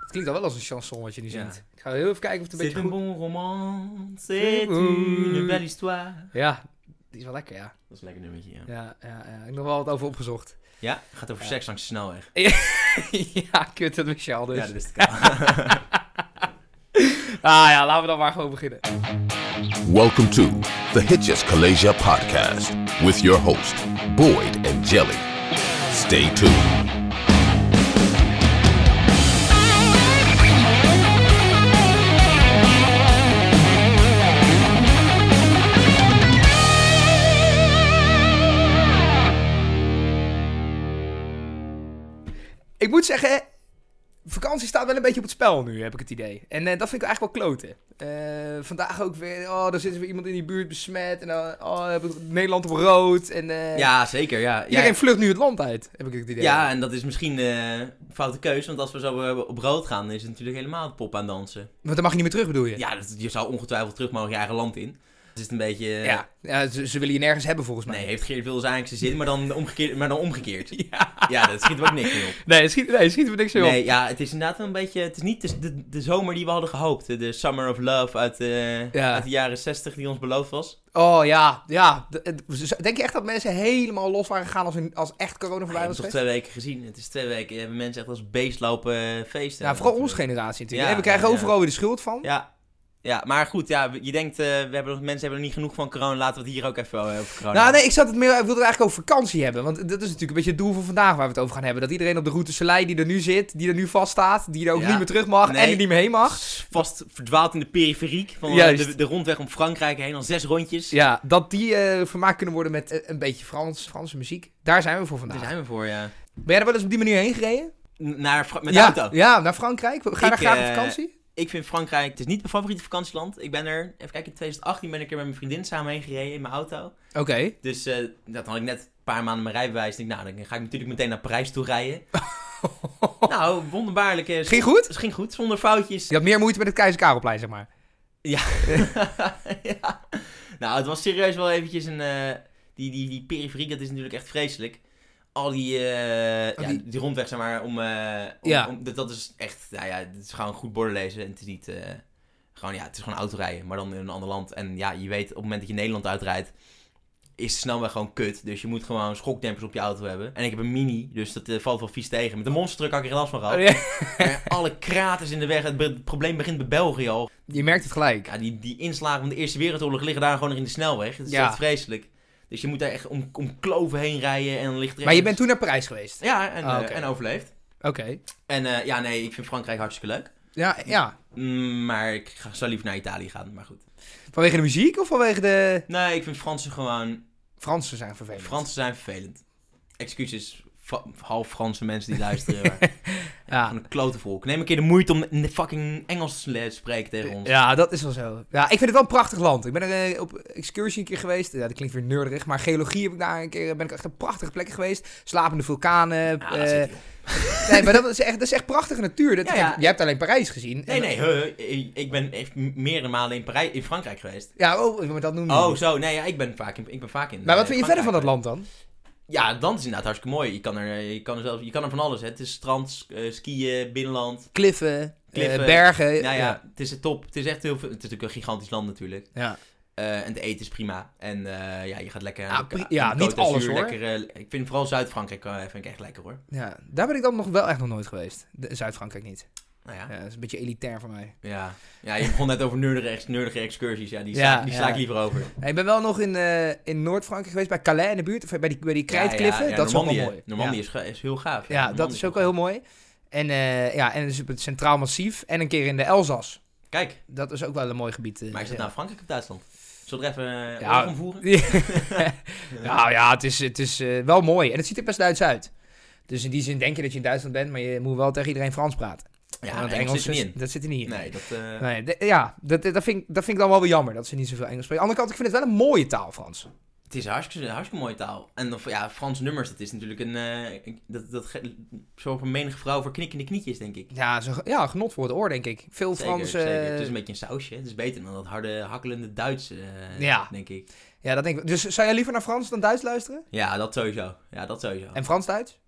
Het klinkt al wel als een chanson wat je nu Ja. zingt. Ik ga heel even kijken of het een C'est beetje un goed... bon roman, c'est Oeh. une belle histoire. Ja, die is wel lekker, ja. Dat is een lekker nummertje, ja. Ja, ja, ja. Ik heb nog wel wat over opgezocht. Ja, gaat over Ja. seks langs de snelweg. ja, kut het Michel dus. Ja, dat is de kaal. Ah ja, laten we dan maar gewoon beginnen. Welcome to the Hitches Kalasia podcast with your host, Boyd and Jelly. Stay tuned. Ik moet zeggen, vakantie staat wel een beetje op het spel nu, heb ik het idee. En eh, dat vind ik eigenlijk wel kloten. Eh, vandaag ook weer, oh, daar zit weer iemand in die buurt besmet. En dan oh, heb ik Nederland op rood. En eh, ja, zeker, ja. ja. iedereen vlucht nu het land uit, heb ik het idee. Ja, en dat is misschien eh, een foute keus, want als we zo eh, op rood gaan, dan is het natuurlijk helemaal de pop aan het dansen. Want dan mag je niet meer terug, bedoel je? Ja, dat, je zou ongetwijfeld terug mogen je eigen land in. Het is een beetje... eh, Ja, ja, ze, ze willen je nergens hebben volgens mij. Nee, heeft Geert Wilders eigenlijk zijn zin, maar dan omgekeerd. Maar dan omgekeerd. Ja. dat schiet er ook niks mee op. Nee, het schiet, nee, het schiet me niks meer op. Nee, ja, het is inderdaad wel een beetje... Het is niet de, de, de zomer die we hadden gehoopt. De Summer of Love uit, eh, Ja. uit de jaren 60 die ons beloofd was. Oh ja, ja. D- d- Denk je echt dat mensen helemaal los waren gegaan als, een, als echt corona We voorbij hebben was toch geweest? twee weken gezien. Het is twee weken. Hebben mensen echt als beest lopen eh, feesten. Ja, vooral Dat, eh, onze generatie natuurlijk. Ja, hè. we krijgen ja, ja. overal weer de schuld van. Ja. Ja, maar goed, ja, je denkt, eh, we hebben, mensen hebben er niet genoeg van corona, laten we het hier ook even eh, over corona Nou nee, ik, zat het meer, ik wilde het eigenlijk over vakantie hebben. Want dat is natuurlijk een beetje het doel van vandaag waar we het over gaan hebben. Dat iedereen op de route Soleil die er nu zit, die er nu vaststaat, die er ook Ja. niet meer terug mag Nee. en er niet meer heen mag. Vast verdwaald in de periferiek van eh, Juist. de, de rondweg om Frankrijk heen, al zes rondjes. Ja, dat die eh, vermaakt kunnen worden met eh, een beetje Frans, Franse muziek. Daar zijn we voor Daar vandaag. zijn we voor, ja. Ben jij er wel eens op die manier heen gereden? N- Naar, Fra- met de ja, auto. ja, naar Frankrijk. Ga je daar Ik, graag op eh, vakantie? Ik vind Frankrijk, het is niet mijn favoriete vakantieland. Ik ben er, even kijken, in 2018 ben ik er met mijn vriendin samen heen gereden in mijn auto. Oké. Dus eh, dat had ik net een paar maanden mijn rijbewijs. Ik Denk, nou, dan ga ik natuurlijk meteen naar Parijs toe rijden. nou, wonderbaarlijk. eh, Ging goed? Het ging goed, zonder foutjes. Je had meer moeite met het Keizer Karelplein, zeg maar. ja. Nou, het was serieus wel eventjes een... eh, die, die, die periferie, dat is natuurlijk echt vreselijk. Al die, eh, Al ja, die- die... rondweg, zeg maar, om... eh, om- Ja. om- dat, dat is echt, nou ja, het is gewoon goed borden lezen. En het is niet... eh, gewoon, ja, het is gewoon autorijden, maar dan in een ander land. En ja, je weet, op het moment dat je Nederland uitrijdt, is de snelweg gewoon kut. Dus je moet gewoon schokdempers op je auto hebben. En ik heb een mini, dus dat eh, valt wel vies tegen. Met de monstertruck had ik er last van gehad. Oh, Maar Alle kraters in de weg. Het, be- het probleem begint bij België al. Je merkt het gelijk. Ja, die, die inslagen van de Eerste Wereldoorlog liggen daar gewoon nog in de snelweg. Dat is Ja. echt vreselijk. Dus je moet daar echt om, om kloven heen rijden en dan ligt er Maar je echt- bent toen naar Parijs geweest. Ja, en, Ah, eh, oké. en overleefd. Oké. En eh, ja, nee, ik vind Frankrijk hartstikke leuk. Ja, ja. Mm, Maar ik ga, zou liever naar Italië gaan, maar goed. Vanwege de muziek of vanwege de... Nee, ik vind Fransen gewoon... Fransen zijn vervelend. Fransen zijn vervelend. Excuses, Fra- half Franse mensen die luisteren. maar Ja. Gewoon een klote volk. Neem een keer de moeite om in de fucking Engels te le- spreken tegen ons. Ja, dat is wel zo. Ja, ik vind het wel een prachtig land. Ik ben er eh, op excursie een keer geweest. Ja, dat klinkt weer nerdig, maar geologie heb ik daar een keer, eh, ben ik echt op prachtige plekken geweest. Slapende vulkanen. Ja, eh, dat zit, joh. nee, maar dat is echt, dat is echt prachtige natuur. Dat, Ja, ja. Je hebt alleen Parijs gezien. Nee, En- nee, huh, ik- ik ben echt meerdere malen in, Parij in Frankrijk geweest. Ja, oh, maar dat noem je Oh, niet. zo. Nee, ja, ik ben vaak in. Ik ben vaak in Maar wat eh, vind je verder van dat Frankrijk. land dan? Ja, het land is inderdaad hartstikke mooi. Je kan er, eh, je kan er, zelfs, je kan er van alles. Hè. Het is strand, sk- eh, skiën, binnenland. Kliffen, eh, Kliffen. bergen. nou ja, het is top. Het is echt heel veel. Het is natuurlijk een gigantisch land natuurlijk. ja. Eh, en het eten is prima. En eh, ja, je gaat lekker Ja, aan de- Ah, pri- aan de ja, Côte niet d'Azur, alles, hoor. Lekker, eh, ik vind vooral Zuid-Frankrijk eh, vind ik echt lekker hoor. Ja, daar ben ik dan nog wel echt nog nooit geweest. De- Zuid-Frankrijk niet. Nou ja. Ja, dat is een beetje elitair voor mij. Ja. ja, je begon net over nerdige, ex- nerdige excursies. Ja, die, Ja, sla, die sla ja. ik liever over. Ja, ik ben wel nog in, eh, in Noord-Frankrijk geweest, bij Calais in de buurt, of bij die, bij die krijtkliffen. dat is ook wel mooi. Normandie ja. is, ge- is heel gaaf. Ja, dat Normandië is ook wel heel mooi. En, eh, ja, en dus op het Centraal Massief en een keer in de Elzas. gaaf. Kijk, Dat is ook wel een mooi gebied. eh, maar is dat ja. nou Frankrijk of Duitsland? Zullen we er even eh, Ja. oorlog om voeren? nou ja, het is, het is eh, wel mooi. En het ziet er best Duits uit. Dus in die zin denk je dat je in Duitsland bent, maar je moet wel tegen iedereen Frans praten. Ja, want Engels zit is- er niet in. dat zit er niet in. Nee, dat... eh, Nee, de- ja, dat, dat, vind, ik- dat vind ik dan wel weer jammer dat ze niet zoveel Engels spreken. Aan de andere kant, ik vind het wel een mooie taal, Frans. Het is een hartstikke, een hartstikke mooie taal. En of, ja, Frans nummers, dat is natuurlijk een... eh, ik- dat dat ge- zorgt voor menige vrouw voor knikkende knietjes, denk ik. Ja, zo, ja, genot voor het oor, denk ik. Veel Zeker, Frans. eh, zeker. Het is een beetje een sausje. Het is beter dan dat harde, hakkelende Duits, eh, Ja. denk ik. Ja, dat denk ik. Dus zou jij liever naar Frans dan Duits luisteren? Ja, dat sowieso. Ja, dat sowieso. En Frans-Duits?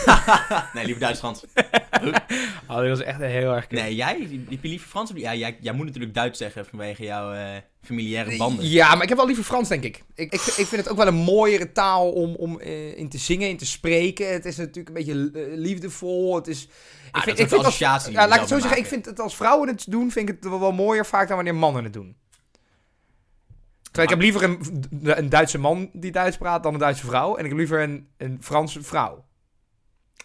nee, liever Duits-Frans. Oh, dit was echt heel erg kut. Nee, jij? Heb je liever Frans? of- Ja, jij, jij moet natuurlijk Duits zeggen vanwege jouw eh, familiaire banden. Ja, maar ik heb wel liever Frans, denk ik. Ik, ik, ik vind het ook wel een mooiere taal om, om eh, in te zingen, in te spreken. Het is natuurlijk een beetje eh, liefdevol. Het is, ik Ah, dat is ook ik de associatie die ja, je laat ik het zo zelf zeggen. Ik maakt, hè. vind het als vrouwen het doen, vind ik het wel, wel mooier vaak dan wanneer mannen het doen. Terwijl ik heb liever een, een Duitse man die Duits praat dan een Duitse vrouw. En ik heb liever een, een Franse vrouw.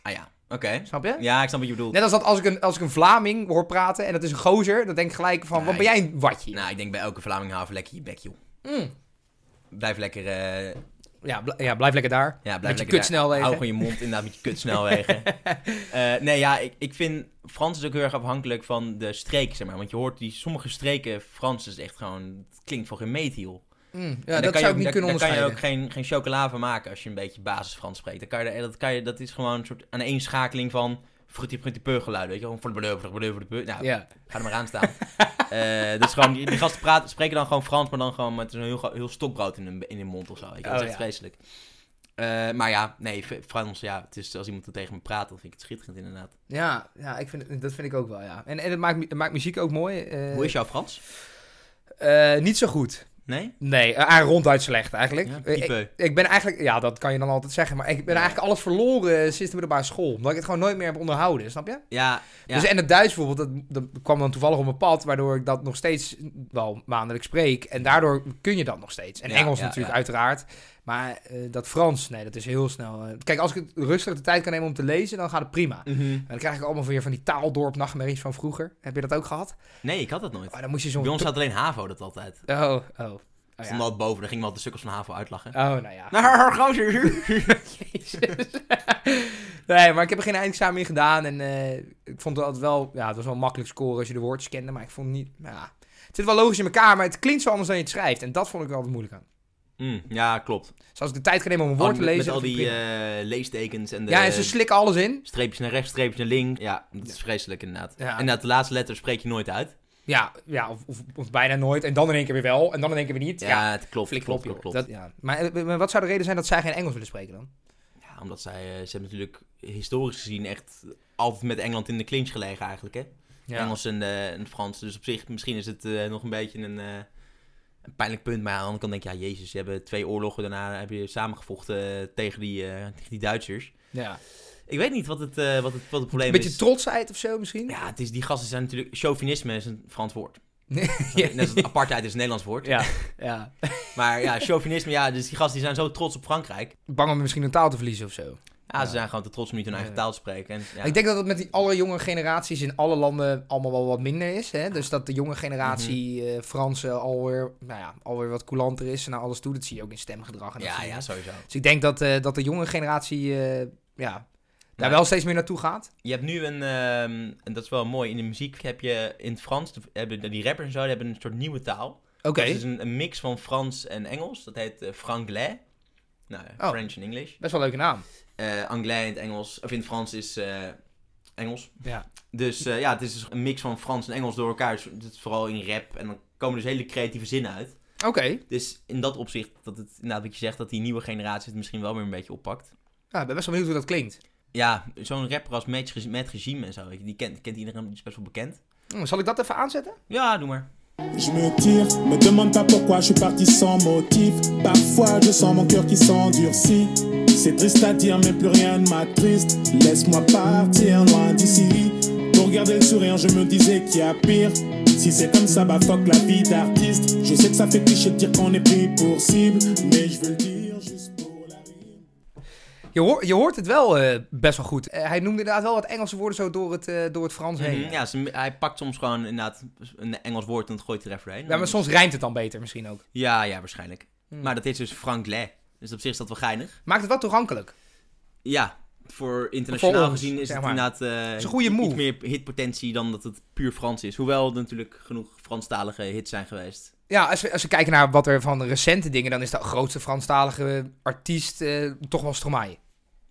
Ah ja, oké. Snap je? Ja, ik snap wat je bedoelt. Net als dat als ik, een, als ik een Vlaming hoor praten en dat is een gozer, dan denk ik gelijk van, wat ben jij een watje? Nou, ik denk bij elke Vlaming haven lekker je bek, joh. Mm. Blijf lekker... eh, Ja, bl- ja, blijf lekker daar. ja, Met je blijf lekker daar. kutsnelwegen. Hou gewoon je mond inderdaad met je kutsnelwegen. Eh, nee, ja, ik, ik vind... Frans is ook heel erg afhankelijk van de streek, zeg maar. Want je hoort die sommige streken... Frans is echt gewoon... Het klinkt voor geen meet, joh. Mm, En ja, daar dat zou je ik niet daar- kunnen daar onderscheiden. kan je ook geen, geen chocola van maken als je een beetje basis Frans spreekt. Dan kan je, daar- dat, kan je, dat is gewoon een soort aaneenschakeling van frutti frutti peur geluid. Weet je, gewoon voor de beleuver, voor de beleuver, voor de peur. Nou, Ja. ga er maar aan staan. Eh, dus gewoon, die, die gasten praten, spreken dan gewoon Frans, maar dan gewoon met een heel, gro- heel stokbrood in hun, in hun mond of zo. Ik, dat is Oh, echt ja. vreselijk. Eh, maar ja, nee, v- Frans, ja, het is, als iemand er tegen me praat, dan vind ik het schitterend inderdaad. Ja, ja ik vind het, dat vind ik ook wel, ja. En, en het, maakt, mu- het maakt muziek ook mooi. eh, Hoe is jouw Frans? eh, niet zo goed. Nee? Nee, eh, ah, ronduit slecht eigenlijk. Ja, Eh, type. ik, ik ben eigenlijk, ja, dat kan je dan altijd zeggen, maar ik ben eigenlijk alles verloren sinds de middelbare school. Omdat ik het gewoon nooit meer heb onderhouden, snap je? Ja, ja. Dus, en het Duits bijvoorbeeld, dat, dat kwam dan toevallig op mijn pad, waardoor ik dat nog steeds wel maandelijk spreek. En daardoor kun je dat nog steeds. En Ja, Engels ja, natuurlijk, ja. uiteraard. Maar eh, dat Frans, nee, dat is heel snel. eh. Kijk, als ik het rustig de tijd kan nemen om te lezen, dan gaat het prima. Mhm. En dan krijg ik allemaal weer van die taaldorp-nachtmerries van vroeger. Heb je dat ook gehad? Nee, ik had dat nooit. Oh, dan moest je zo'n... Bij ons had alleen HAVO dat altijd. Oh, oh. Oh, Ze ja. stonden altijd boven, dan gingen we altijd de sukkels van HAVO uitlachen. oh nou ja. Nou, gozer. Jezus. nee, maar ik heb er geen eindexamen in gedaan. En eh, ik vond het altijd wel... Ja, het was wel een makkelijk scoren als je de woordjes kende. Maar ik vond het niet... nou Ja. Het zit wel logisch in elkaar, maar het klinkt zo anders dan je het schrijft. En dat vond ik wel altijd moeilijk aan. Mm, ja, klopt. Dus als ik de tijd kan nemen om een woord Al- te Ah, met- lezen... Met al dan die vind ik het eh, leestekens en de prima. ja, en ze slikken alles in. streepjes naar rechts, streepjes naar links. Ja, dat is vreselijk inderdaad. Ja. En dat de laatste letter spreek je nooit uit. Ja, ja of, of, of bijna nooit. En dan in één keer weer wel. En dan in één keer weer niet. Ja, Ja, ja het klopt, flik klopt, klopt, klopt, klopt. Dat, ja. maar, eh, maar wat zou de reden zijn dat zij geen Engels willen spreken dan? Ja, omdat zij, eh, ze hebben natuurlijk historisch gezien echt altijd met Engeland in de clinch gelegen eigenlijk, hè. Engels en, eh, en Frans. Dus op zich, misschien is het eh, nog een beetje een, eh, een pijnlijk punt. Maar aan de andere kant denk je, ja, jezus, ze hebben twee oorlogen daarna hebben je samengevochten eh, tegen, die, eh, tegen die Duitsers. Ja. Ik weet niet wat het, eh, wat het, wat het probleem Een is. beetje trotsheid of zo misschien? Ja, het is, die gasten zijn natuurlijk... Chauvinisme is een Frans woord. Nee. Net als het apartheid is een Nederlands woord. Ja, ja. Maar ja, chauvinisme, ja, dus die gasten die zijn zo trots op Frankrijk. Bang om misschien een taal te verliezen of zo. Ja, Ja. ze zijn gewoon te trots om niet hun eigen Ja. taal te spreken. En, ja. Ik denk dat het met die alle jonge generaties in alle landen allemaal wel wat minder is. Hè? Dus dat de jonge generatie eh, Fransen alweer, nou ja, alweer wat coulanter is naar alles toe. Dat zie je ook in stemgedrag. En dat ja, soort ja, dingen. sowieso. Dus ik denk dat, eh, dat de jonge generatie eh, ja, daar Maar- wel steeds meer naartoe gaat. Je hebt nu een, ehm, en dat is wel mooi, in de muziek heb je in het Frans, de- hebben de- die rappers en zo, die hebben een soort nieuwe taal. Oké. Dus het is een, een mix van Frans en Engels, dat heet eh, franglais. Nou, ja, Oh. French en English. Best wel een leuke naam. Eh anglais in het Engels, of in het Frans is eh, Engels. Ja. Dus eh, ja, het is dus een mix van Frans en Engels door elkaar. Dus het is vooral in rap. En dan komen dus hele creatieve zinnen uit. Oké. Dus in dat opzicht, dat het, inderdaad wat je zegt, dat die nieuwe generatie het misschien wel weer een beetje oppakt. Ja, ik ben best wel benieuwd hoe dat klinkt. Ja, zo'n rapper als Match Met Regime en zo, weet je, die kent, kent iedereen, die is best wel bekend. Hm, zal ik dat even aanzetten? Ja, doe maar. Je me tire, me demande pas pourquoi je suis parti sans motif. Parfois je sens mon cœur qui s'endurcit. C'est triste à dire, mais plus rien ne m'attriste. Laisse-moi partir loin d'ici. Pour garder le sourire, je me disais qu'il y a pire. Si c'est comme ça, bah fuck la vie d'artiste. Je sais que ça fait cliché de dire qu'on est pris pour cible, mais je veux le dire juste pour la rime. Je, hoor- je hoort het wel eh, best wel goed. Eh, hij noemde inderdaad wel wat Engelse woorden zo door het, eh, door het Frans heen. Mhm, Ja, ze- hij pakt soms gewoon inderdaad een Engels woord en het gooit er even heen. Ja, maar Hmm. soms rijmt het dan beter misschien ook. Ja, ja, waarschijnlijk. Maar dat is dus franglais. Dus op zich is dat wel geinig. Maakt het wel toegankelijk. Ja, voor internationaal Voor ons, gezien is zeg het maar. inderdaad eh, is een goede iets move. meer hitpotentie dan dat het puur Frans is. Hoewel er natuurlijk genoeg Franstalige hits zijn geweest. Ja, als we, als we kijken naar wat er van recente dingen... dan is de grootste Franstalige artiest eh, toch wel Stromae.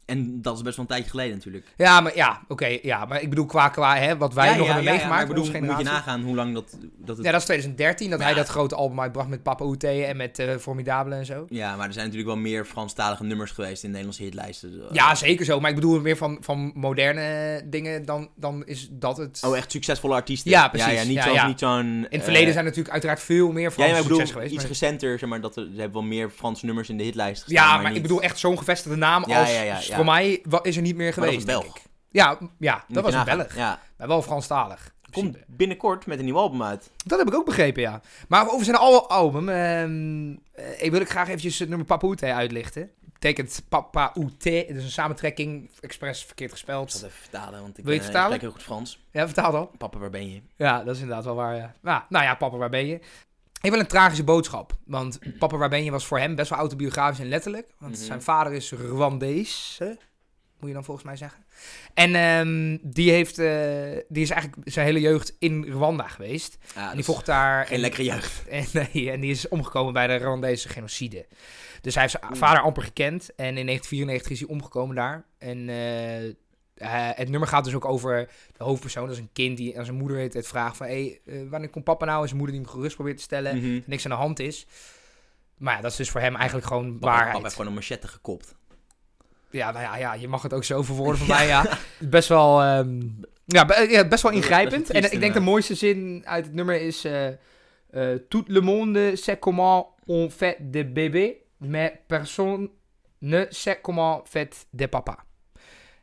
En dat is best wel een tijdje geleden natuurlijk. Ja, maar ja, oké. ja, maar ik bedoel, qua, qua hè, wat wij Ja, nog ja, hebben ja, ja, meegemaakt, maar ik onze bedoel, moet je generatie. nagaan hoe lang dat, dat het... Ja, dat is 2013, dat Maar hij ja. dat grote album uitbracht met Papa Oute en met eh, Formidable en zo. Ja, maar er zijn natuurlijk wel meer Franstalige nummers geweest in Nederlandse hitlijsten. Dus, eh, Ja, zeker zo. Maar ik bedoel meer van, van moderne dingen, dan, dan is dat het... Oh, echt succesvolle artiesten. Ja, precies. Ja, niet Ja, zoals- ja. niet zo'n... In het verleden zijn natuurlijk uiteraard veel meer Franse ja, eh, maar ik bedoel, succes geweest. iets maar- recenter, zeg maar, dat er, er hebben wel meer Franse nummers in de hitlijst gestaan. Ja, maar, niet- ik bedoel echt zo'n gevestigde naam Ja, als ja, ja, ja. Stromae wa- is er niet meer Maar geweest. dat was denk Belg. ik. Ja, m- ja Moet dat je was een nagaan. Belg. Ja. Maar wel Franstalig. in Komt principe. binnenkort met een nieuw album uit. Dat heb ik ook begrepen, ja. Maar over zijn oude album ehm, eh, ik wil ik graag eventjes het nummer Papa Oute uitlichten. Het betekent Papa Oute. Het is een samentrekking, expres verkeerd Ik zal gespeld. het even vertalen, want ik, Wil je het eh, vertalen? spreek heel goed Frans. Ja, vertaal dan. Papa, waar ben je? Ja, dat is inderdaad wel waar. Ja. Nou, nou ja, Papa, waar ben je? Heeft wel een tragische boodschap. Want Papa, waar ben je was voor hem best wel autobiografisch en letterlijk. Want Mhm. zijn vader is Rwandees, hè? moet je dan volgens mij zeggen. En ehm, die, heeft, eh, die is eigenlijk zijn hele jeugd in Rwanda geweest. Ja, en dat die is vocht daar. Geen en, lekkere jeugd. en, nee, en die is omgekomen bij de Rwandese genocide. Dus hij heeft Mm. zijn vader amper gekend. En in 1994 is hij omgekomen daar. En eh, eh, het nummer gaat dus ook over de hoofdpersoon. Dat is een kind die aan zijn moeder heet het vraagt van... Hey, eh, wanneer komt papa nou? En zijn moeder die hem gerust probeert te stellen. Mhm. Dat er niks aan de nou, hand is. Maar ja, dat is dus voor hem eigenlijk gewoon Papa, waarheid. papa heeft gewoon een machette gekopt. Ja, nou ja, ja, je mag het ook zo verwoorden van mij, ja. Best wel, ehm, ja, be- ja, best wel Best- ingrijpend. best wel en triest, ik denk de inderdaad. mooiste zin uit het nummer is... eh eh, Tout le monde sait comment on fait des bébés, mais personne ne sait comment fait des papa.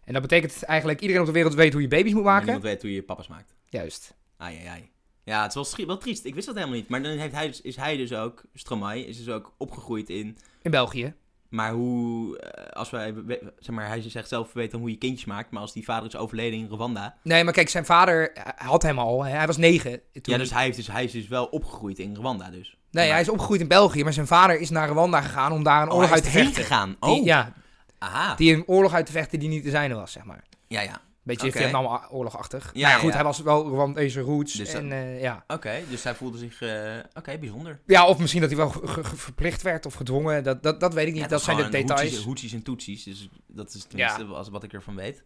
En dat betekent eigenlijk iedereen op de wereld weet hoe je baby's moet Maar maken. Niemand weet hoe je papa's maakt. Juist. Ai, ai, ai. Ja, het is wel, schri- wel triest. Ik wist dat helemaal niet. Maar dan heeft hij, dus- is hij dus ook, Stromae, is dus ook opgegroeid in... In België. Maar hoe, eh, als wij, we- zeg maar, hij zegt zelf, we weten dan hoe je kindjes maakt. Maar als die vader is overleden in Rwanda. Nee, maar kijk, zijn vader eh, had hem al. hè. Hij was negen. Toen... Ja, dus hij, heeft dus hij is dus wel opgegroeid in Rwanda dus. Nee, hij is opgegroeid in België, maar zijn vader is naar Rwanda gegaan om daar een Oh, oorlog hij uit is te erheen vechten. gegaan. Die- Oh, ja, aha. Die een oorlog uit te vechten die niet te zijn was, zeg maar. Ja, ja. Beetje Oké. Vietnamoorlogachtig. Nou Ja, Ja, ja, ja, goed, ja. hij was wel Rwandese roots. Dus en, eh, ja. Oké, dus hij voelde zich... eh, Oké, bijzonder. ja, of misschien dat hij wel ge- ge- verplicht werd of gedwongen. Dat, dat, dat weet ik niet. Ja, dat zijn de gewoon Hoetsies, details. hoetsies en toetsies. Dus dat is tenminste als- wat ik ervan weet.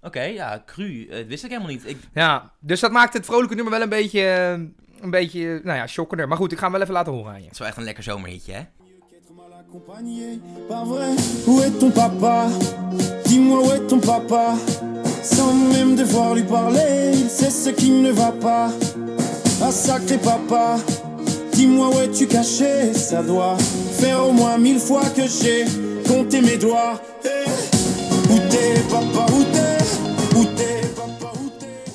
Oké, ja, cru. Eh, Dat wist ik helemaal niet. Ik, Ja, dus dat maakt het vrolijke nummer wel een beetje, eh, een beetje nou ja, shockender. Maar goed, ik ga hem wel even laten horen aan je. het is wel echt een lekker zomerhitje, hè? Qu'être mal accompagné, pas vrai. Où est ton papa Dis-moi où est ton papa Sans même devoir lui parler, il sait ce qui ne va pas. Ah sacré papa, dis-moi où es-tu caché Ça doit faire au moins mille fois que j'ai compté mes doigts. Hey. Où t'es papa, où t'es Où t'es papa, où t'es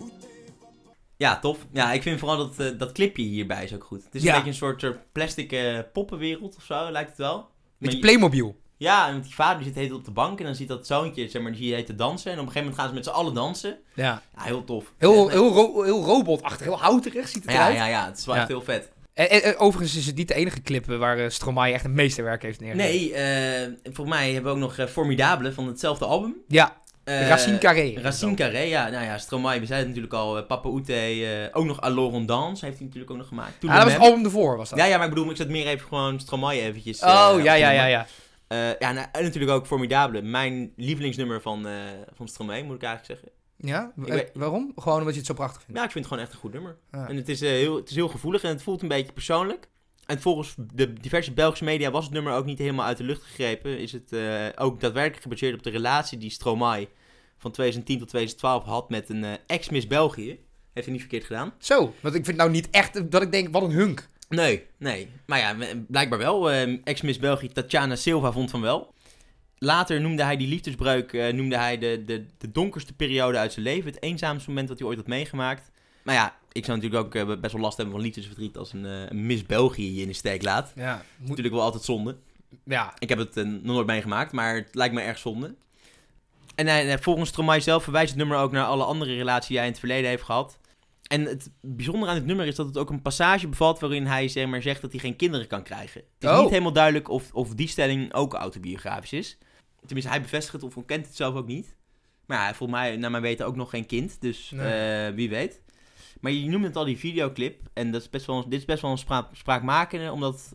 Où t'es papa Ja, tof. Ja, ik vind vooral dat, eh, dat clipje hierbij is ook goed. Het is Ja. een beetje een soort eh, plastic eh, poppenwereld of zo, lijkt het wel. Beetje Maar je- Playmobil. ja, en want die vader die zit heet op de bank en dan ziet dat zoontje, zeg maar, die zie je heet te dansen. En op een gegeven moment gaan ze met z'n allen dansen. Ja. Ja, heel tof. Heel, heel, ro- heel robotachtig, heel houterig ziet het Ja, eruit. ja, ja, het is wel Ja. echt heel vet. En, en- en overigens is het niet de enige clip eh, waar eh, Stromae echt een meesterwerk heeft neergezet. Nee, eh voor mij hebben we ook nog eh, Formidable van hetzelfde album. Ja, Eh, Racine Carré. Ah, Racine Carré, ja. Nou ja, Stromae, we zeiden het natuurlijk al. eh, Papa Oete, eh, ook nog Alors on Danse heeft hij natuurlijk ook nog gemaakt. Toen Ah, dat was Mem. het album ervoor, was dat? Ja, ja, maar ik bedoel, ik zat meer even gewoon Stromae eventjes... eh, Oh, op ja, te ja, ja, noemen. ja. Eh, ja, nou, en natuurlijk ook Formidable. Mijn lievelingsnummer van, eh van Stromae, moet ik eigenlijk zeggen. Ja? Wa- Ik weet- Waarom? Gewoon omdat je het zo prachtig vindt. Ja, ik vind het gewoon echt een goed nummer. Ja. En het is, eh, heel, het is heel gevoelig en het voelt een beetje persoonlijk. En volgens de diverse Belgische media was het nummer ook niet helemaal uit de lucht gegrepen. Is het eh, ook daadwerkelijk gebaseerd op de relatie die Stromae van 2010 tot 2012 had met een eh, ex-miss België. Heeft hij niet verkeerd gedaan? Zo, want ik vind nou niet echt dat ik denk, wat een hunk. Nee, nee. Maar ja, m- blijkbaar wel. Eh, Ex-miss België Tatjana Silva vond van wel. Later noemde hij die liefdesbreuk eh, noemde hij de, de, de donkerste periode uit zijn leven. Het eenzaamste moment dat hij ooit had meegemaakt. Maar ja, ik zou natuurlijk ook eh, best wel last hebben van liefdesverdriet als een eh, Miss België je in de steek laat. Ja, moet, Natuurlijk wel altijd zonde. ja. Ik heb het eh, nog nooit meegemaakt, maar het lijkt me erg zonde. En hij- hij- volgens Stromae zelf verwijst het nummer ook naar alle andere relaties die hij in het verleden heeft gehad. En het bijzondere aan het nummer is dat het ook een passage bevat waarin hij zeg maar, zegt dat hij geen kinderen kan krijgen. Het is Oh. niet helemaal duidelijk of, of die stelling ook autobiografisch is. Tenminste, hij bevestigt het of ontkent het zelf ook niet. Maar ja, hij volgens mij, naar mijn weten, ook nog geen kind. Dus eh, wie weet. Maar je noemde het al, die videoclip. En dat is best wel, dit is best wel een spra- spraakmakende, omdat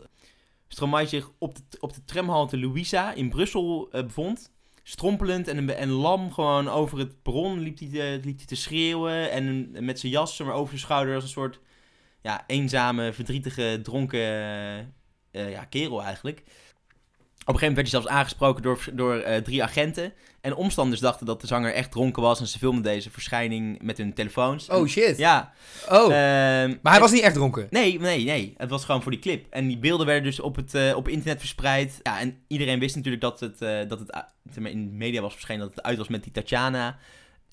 Stromae zich op de, op de tramhalte Louisa in Brussel eh, bevond. strompelend en, een be- en lam gewoon over het bron liep hij te, liep hij te schreeuwen. En een- met zijn jas maar over zijn schouder als een soort ja, eenzame, verdrietige, dronken eh, ja, kerel eigenlijk. Op een gegeven moment werd hij zelfs aangesproken door, door eh, drie agenten. En omstanders dachten dat de zanger echt dronken was. En ze filmden deze verschijning met hun telefoons. Oh shit. Ja. Oh. ehm, maar hij was niet echt dronken. Nee, nee, nee. Het was gewoon voor die clip. En die beelden werden dus op, het, eh, op internet verspreid. Ja, en iedereen wist natuurlijk dat het, eh, dat het ah, zeg maar, in de media was verschenen dat het uit was met die Tatjana.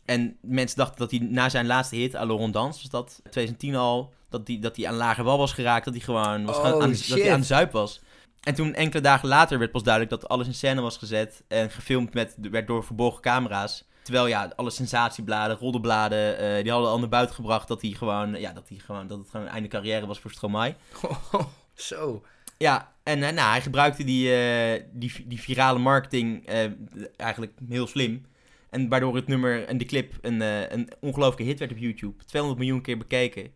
En mensen dachten dat hij na zijn laatste hit, à Laurent Dans, was dat 2010 al, dat hij dat die aan lage wal was geraakt. Dat hij gewoon was Oh, gaan- aan, dat shit. hij aan de zuip was. En toen enkele dagen later werd pas duidelijk dat alles in scène was gezet en gefilmd met, werd door verborgen camera's. Terwijl ja, alle sensatiebladen, roddebladen, eh, die hadden al naar buiten gebracht dat hij gewoon, ja, dat hij gewoon, dat het gewoon een einde carrière was voor Stromae. Oh, Zo. Ja, en eh, nou, hij gebruikte die, eh, die, die virale marketing eh, eigenlijk heel slim. En waardoor het nummer en de clip een, eh, een ongelooflijke hit werd op YouTube. 200 miljoen keer bekeken.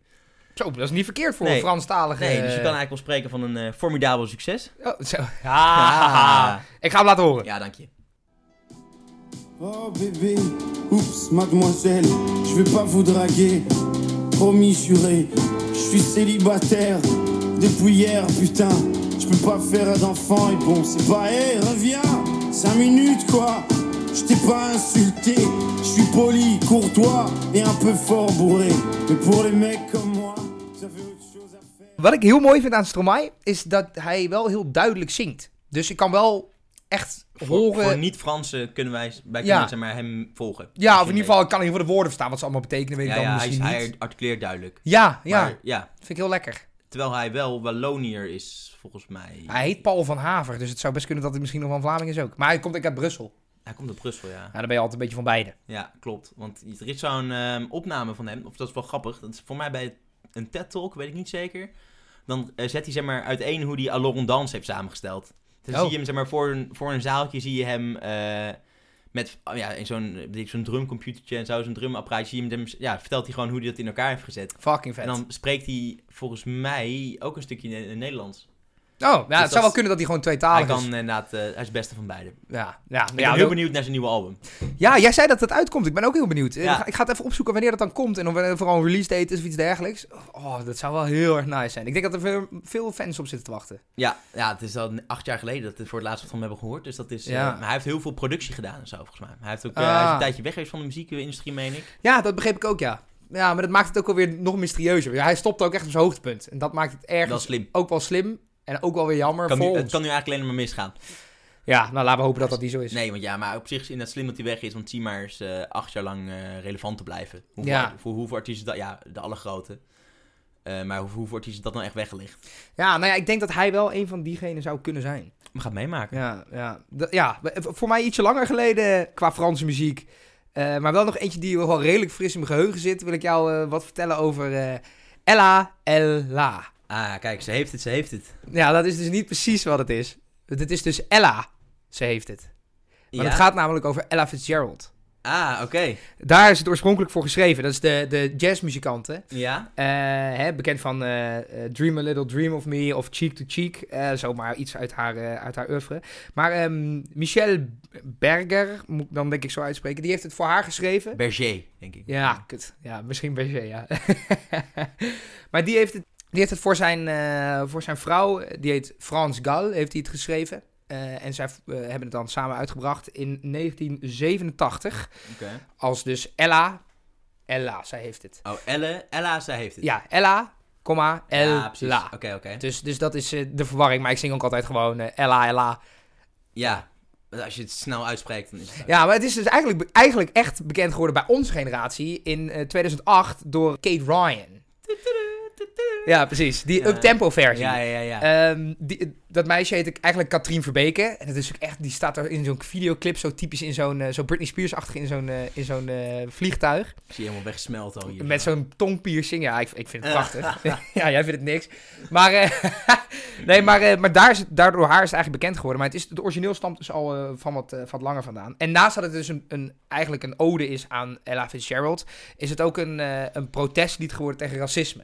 Zo, dat is niet verkeerd voor Nee. een Franstalige... Nee, dus je kan eigenlijk wel spreken van een eh, formidabel succes. Oh, zo. Ah. Ik ga hem laten horen. Ja, dank je. Oh bébé, oups, mademoiselle, je vais pas vous draguer. Promis juré, je suis célibataire depuis hier, putain. Je peux pas faire d'enfant et bon, c'est pas, hé, reviens, 5 minutes quoi. Je t'ai pas insulté, je suis poli, courtois et un peu fort bourré. Mais pour les mecs comme moi, vous avez autre chose à faire. Wat ik heel mooi vind aan Stromae is dat hij wel heel duidelijk zingt. Dus ik kan wel echt Voor, horen... voor niet-Fransen kunnen wij, wij kunnen Ja. zeg maar hem volgen. Ja, of in ieder geval, ik kan in ieder geval de woorden verstaan wat ze allemaal betekenen, weet Ja, ik dan ja, hij, misschien hij niet. articuleert duidelijk. Ja, ja. Maar, ja. Vind ik heel lekker. Terwijl hij wel Wallonier is, volgens mij. Hij heet Paul van Haver, dus het zou best kunnen dat hij misschien nog van Vlaming is ook. Maar hij komt ook uit Brussel. Hij komt uit Brussel, ja. Ja, dan ben je altijd een beetje van beide. Ja, klopt. Want er is zo'n ehm, opname van hem, of dat is wel grappig. Dat is voor mij bij een TED-talk, weet ik niet zeker. Dan eh, zet hij zeg maar uiteen hoe hij Aloron Dans heeft samengesteld. Dus Oh. zie je hem zeg maar voor een, voor een zaaltje, zie je hem eh, met oh ja, in zo'n weet ik, zo'n drumcomputertje en zo, zo'n drumapparaat. Zie je hem, ja, vertelt hij gewoon hoe hij dat in elkaar heeft gezet. Fucking vet. En dan spreekt hij volgens mij ook een stukje in, in Nederlands. oh, nou, het Dus dat- zou wel kunnen dat hij gewoon hij tweetalig kan is. inderdaad, eh, hij is het beste van beide. Ik Ja, ja, ben ja, heel wel- benieuwd naar zijn nieuwe album. ja, jij zei dat het uitkomt. Ik ben ook heel benieuwd. Eh, Ja. we gaan- Ik ga het even opzoeken wanneer dat dan komt. En of er vooral een release date is of iets dergelijks. Oh, dat zou wel heel erg nice zijn. Ik denk dat er veel, veel fans op zitten te wachten. Ja, ja, het is al acht jaar geleden dat we voor het laatst wat van hem hebben gehoord. Dus dat is, eh, Ja. maar hij heeft heel veel productie gedaan en zo, volgens mij. Hij, heeft ook, eh, Ah. hij is een tijdje weg geweest van de muziekindustrie, meen ik. Ja, dat begreep ik ook, ja. Ja, maar dat maakt het ook alweer nog mysterieuzer. Ja, hij stopt ook echt op zijn hoogtepunt. En dat maakt het ergens Wel slim. ook wel slim. En ook wel weer jammer Kan nu, voor het ons. kan nu eigenlijk alleen maar misgaan. Ja, nou laten we hopen dat dat niet zo is. Nee, want ja, maar op zich is het inderdaad slim dat hij weg is. Want zie maar eens eh, acht jaar lang eh, relevant te blijven. Hoeveel, Ja. Voor hoeveel artiesten dat... Ja, de allergrote. Eh, maar hoe- hoeveel artiesten dat nou echt weggelegd? Ja, nou ja, ik denk dat hij wel een van diegenen zou kunnen zijn. We gaan het meemaken. Ja, ja. Dat- ja we- voor mij ietsje langer geleden qua Franse muziek. Eh, maar wel nog eentje die wel redelijk fris in mijn geheugen zit. Wil ik jou eh, wat vertellen over eh, Ella Ella. Ah, kijk, ze heeft het, ze heeft het. Ja, dat is dus niet precies wat het is. Het is dus Ella. Ze heeft het. Maar Ja? het gaat namelijk over Ella Fitzgerald. Ah, oké. Daar is het oorspronkelijk voor geschreven. Dat is de, de jazzmuzikante. Ja? Eh, hè, bekend van eh, eh, Dream a Little Dream of Me of Cheek to Cheek. eh, zomaar iets uit haar, eh, uit haar oeuvre. Maar ehm Michelle Berger, moet ik dan denk ik zo uitspreken, die heeft het voor haar geschreven. Berger, denk ik. Ja, kut. Ja, misschien Berger, ja. maar die heeft het, die heeft het voor, zijn, eh, voor zijn vrouw, eh, die heet Frans Gal, heeft hij het geschreven. Eh, en zij eh, hebben het dan samen uitgebracht in 1987. Oké. Als dus Ella, Ella, zij heeft het. Oh, Elle, Ella, zij heeft het. Ja, Ella, comma, Ja, Ella. precies. Oké, oké. Dus, dus dat is eh, de verwarring, maar ik zing ook altijd gewoon eh, Ella, Ella. Ja, maar als je het snel uitspreekt, dan is het... Ja, maar het is dus eigenlijk, be- eigenlijk echt bekend geworden bij onze generatie in eh, 2008 door Kate Ryan. Ja, precies. Die Ja. up-tempo versie. Ja, ja, ja. Ehm, die, dat meisje heet ik eigenlijk Katrien Verbeke. En dat is ook echt, die staat er in zo'n videoclip, zo typisch in zo'n eh, zo Britney Spears-achtig in zo'n eh, in zo'n eh, vliegtuig. Ik zie je helemaal weggesmeld al hier. Met zo'n tongpiercing. Ja, ik, ik vind het prachtig. ja, jij vindt het niks. Maar, eh, nee, maar, eh, maar daar is, het- daardoor haar is het eigenlijk bekend geworden. Maar het, is, het origineel stamt dus al eh, van, wat, eh, van wat langer vandaan. En naast dat het dus een, een, eigenlijk een ode is aan Ella Fitzgerald... is het ook een, eh, een protestlied geworden tegen racisme.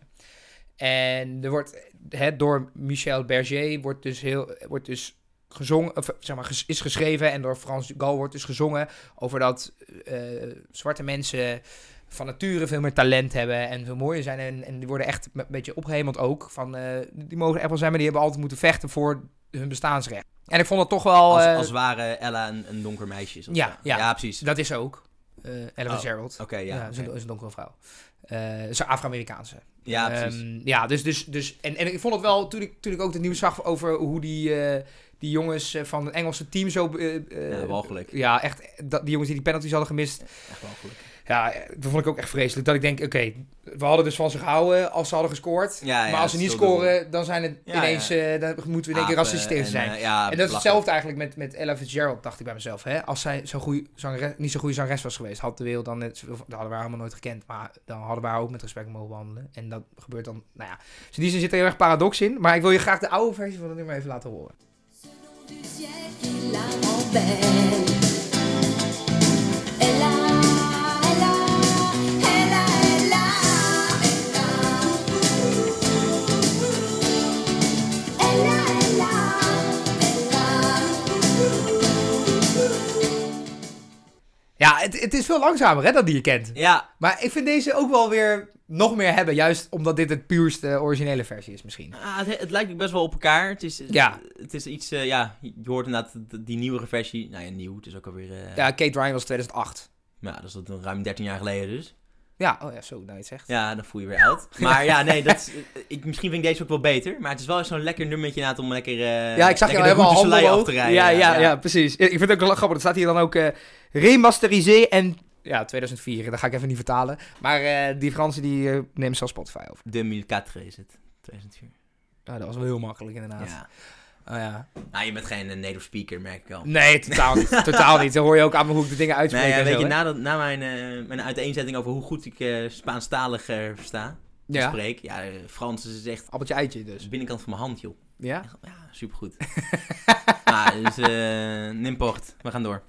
En er wordt, hè, door Michel Berger wordt dus, heel, wordt dus gezongen, of, zeg maar, ges- is geschreven en door Frans Galwort is gezongen over dat eh, zwarte mensen van nature veel meer talent hebben en veel mooier zijn. En, en die worden echt een beetje opgehemeld ook. Van, eh, die mogen er wel zijn, maar die hebben altijd moeten vechten voor hun bestaansrecht. En ik vond dat toch wel... Als, eh, als ware Ella een, een donker meisje. is of Ja, zo. ja. precies. Oké, Dat is ze ook. eh Ella Oh, Gerald. ja. ja, oké. is, een, is een donkere vrouw. Eh, Ze is een Afro-Amerikaanse. Ja, Ehm, precies. ja, dus, dus, dus en, en ik vond het wel, toen ik, toen ik ook het nieuws zag over hoe die, eh, die jongens eh, van het Engelse team zo... eh, eh, Ja, walgelijk. Ja, echt, eh, dat, die jongens die die penalties hadden gemist. Echt wel gelukkig. Ja, eh, dat vond ik ook echt vreselijk. Dat ik denk, oké, we hadden dus van ze gehouden als ze hadden gescoord. Ja, ja, maar als ze niet stil doen. scoren, dan zijn het Ja, ineens, ja. eh, dan moeten we in één keer Apen racistisch en, zijn. eh, ja, En dat is belachelijk. hetzelfde eigenlijk met, met Ella Fitzgerald, dacht ik bij mezelf. Hè? Als zij zo goeie zangere- niet zo'n goede zangeres was geweest, had de wereld dan net... zoveel- Dat hadden we haar helemaal nooit gekend. Maar dan hadden we haar ook met respect mogen behandelen. En dat gebeurt dan... Nou ja, dus in die zin zit er heel erg paradox in. Maar ik wil je graag de oude versie van het nummer even laten horen. Du siècle la rend belle. Elle a, elle a, elle a, elle a, elle a, elle a, elle a. Ja, het, het is veel langzamer hè, dan die je kent. Ja, Maar ik vind deze ook wel weer nog meer hebben. Juist omdat dit het puurste originele versie is misschien. ah, het, het lijkt ook best wel op elkaar. Het is, Ja. het is iets, eh, ja, je hoort inderdaad d- die nieuwere versie. Nou ja, nieuw, het is ook alweer, eh, Ja, Kate Ryan was 2008. maar ja, dat is dat ruim 13 jaar geleden dus. Ja, oh ja, zo, nou je het zegt. Ja, dan voel je weer oud. Maar ja, nee, dat is, eh, ik, misschien vind ik deze ook wel beter. Maar het is wel eens zo'n lekker nummertje inderdaad om lekker, eh Ja, ik zag je lekker al de helemaal route handen Soleil af omhoog. te Ja, rijden. ja, ja, precies. Ik vind het ook wel grappig. Er staat hier dan ook eh remasteriseer en... Ja, 2004. Dat ga ik even niet vertalen. Maar eh, die Fransen die eh, nemen zelfs Spotify over. De 2004 is het, 2004. Ja, dat was wel heel makkelijk inderdaad. Ja. Oh, ja. Nou, je bent geen eh, native speaker, merk ik al. Nee, totaal niet. totaal niet. Dan hoor je ook aan me hoe ik de dingen uitspreek Nee, ja, en weet zo, je, hè. na, dat, na mijn, eh, mijn uiteenzetting over hoe goed ik eh, Spaanstalig eh, versta, Ja, spreek, ja, eh, Frans is echt appeltje eitje dus. de binnenkant van mijn hand, joh. Ja? Echt, ja, supergoed. maar, dus, eh n'importe. We gaan door.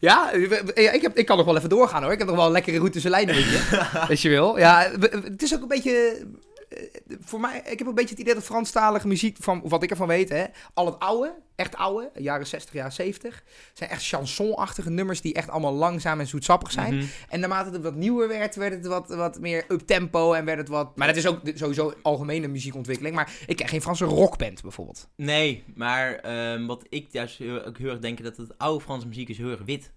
Ja, we- we- ja, ik, heb, ik kan nog wel even doorgaan hoor. Ik heb nog wel een lekkere route zijn lijnen met je. als je wil. Ja, we- we- het is ook een beetje. eh, Voor mij, ik heb een beetje het idee dat Franstalige muziek, van wat ik ervan weet, hè, al het oude, echt oude, jaren 60, jaren 70, zijn echt chansonachtige nummers die echt allemaal langzaam en zoetsappig zijn. Mhm. En naarmate het wat nieuwer werd, werd het wat, wat meer up-tempo en werd het wat... Maar dat is ook de- sowieso algemene muziekontwikkeling. Maar ik ken geen Franse rockband bijvoorbeeld. Nee, maar ehm, wat ik juist heel, ook heel erg denk, dat het oude Franse muziek is heel erg wit.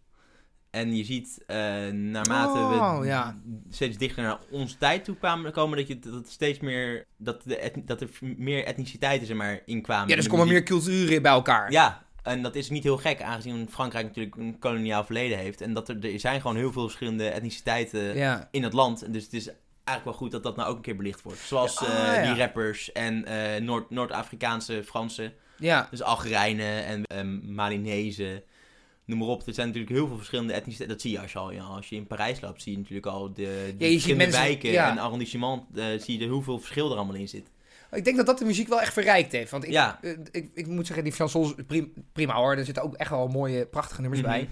En je ziet, eh, naarmate Oh, we ja. steeds dichter naar onze tijd toe kwamen, komen dat, je, dat het steeds meer, dat, de, et- dat er meer etniciteiten zeg maar, in kwamen. Ja, in dus de komen muziek. meer culturen bij elkaar. Ja, en dat is niet heel gek, aangezien Frankrijk natuurlijk een koloniaal verleden heeft. En dat er, er zijn gewoon heel veel verschillende etniciteiten ja. in het land. En dus het is eigenlijk wel goed dat dat nou ook een keer belicht wordt. Zoals Ja, eh, ah, ja. die rappers en eh, Noord- Noord-Afrikaanse Fransen. ja. Dus Algerijnen en eh, Malinezen. Noem maar op, er zijn natuurlijk heel veel verschillende etniciteiten. Dat zie je als je, al, ja, als je in Parijs loopt, zie je natuurlijk al de, die ziet verschillende mensen- wijken ja. en arrondissement. eh, zie je er hoeveel verschil er allemaal in zit. Ik denk dat dat de muziek wel echt verrijkt heeft. Want ik, Ja. eh, ik, ik moet zeggen, die chansons, prim- prima hoor. Er zitten ook echt wel mooie, prachtige nummers Mhm. bij.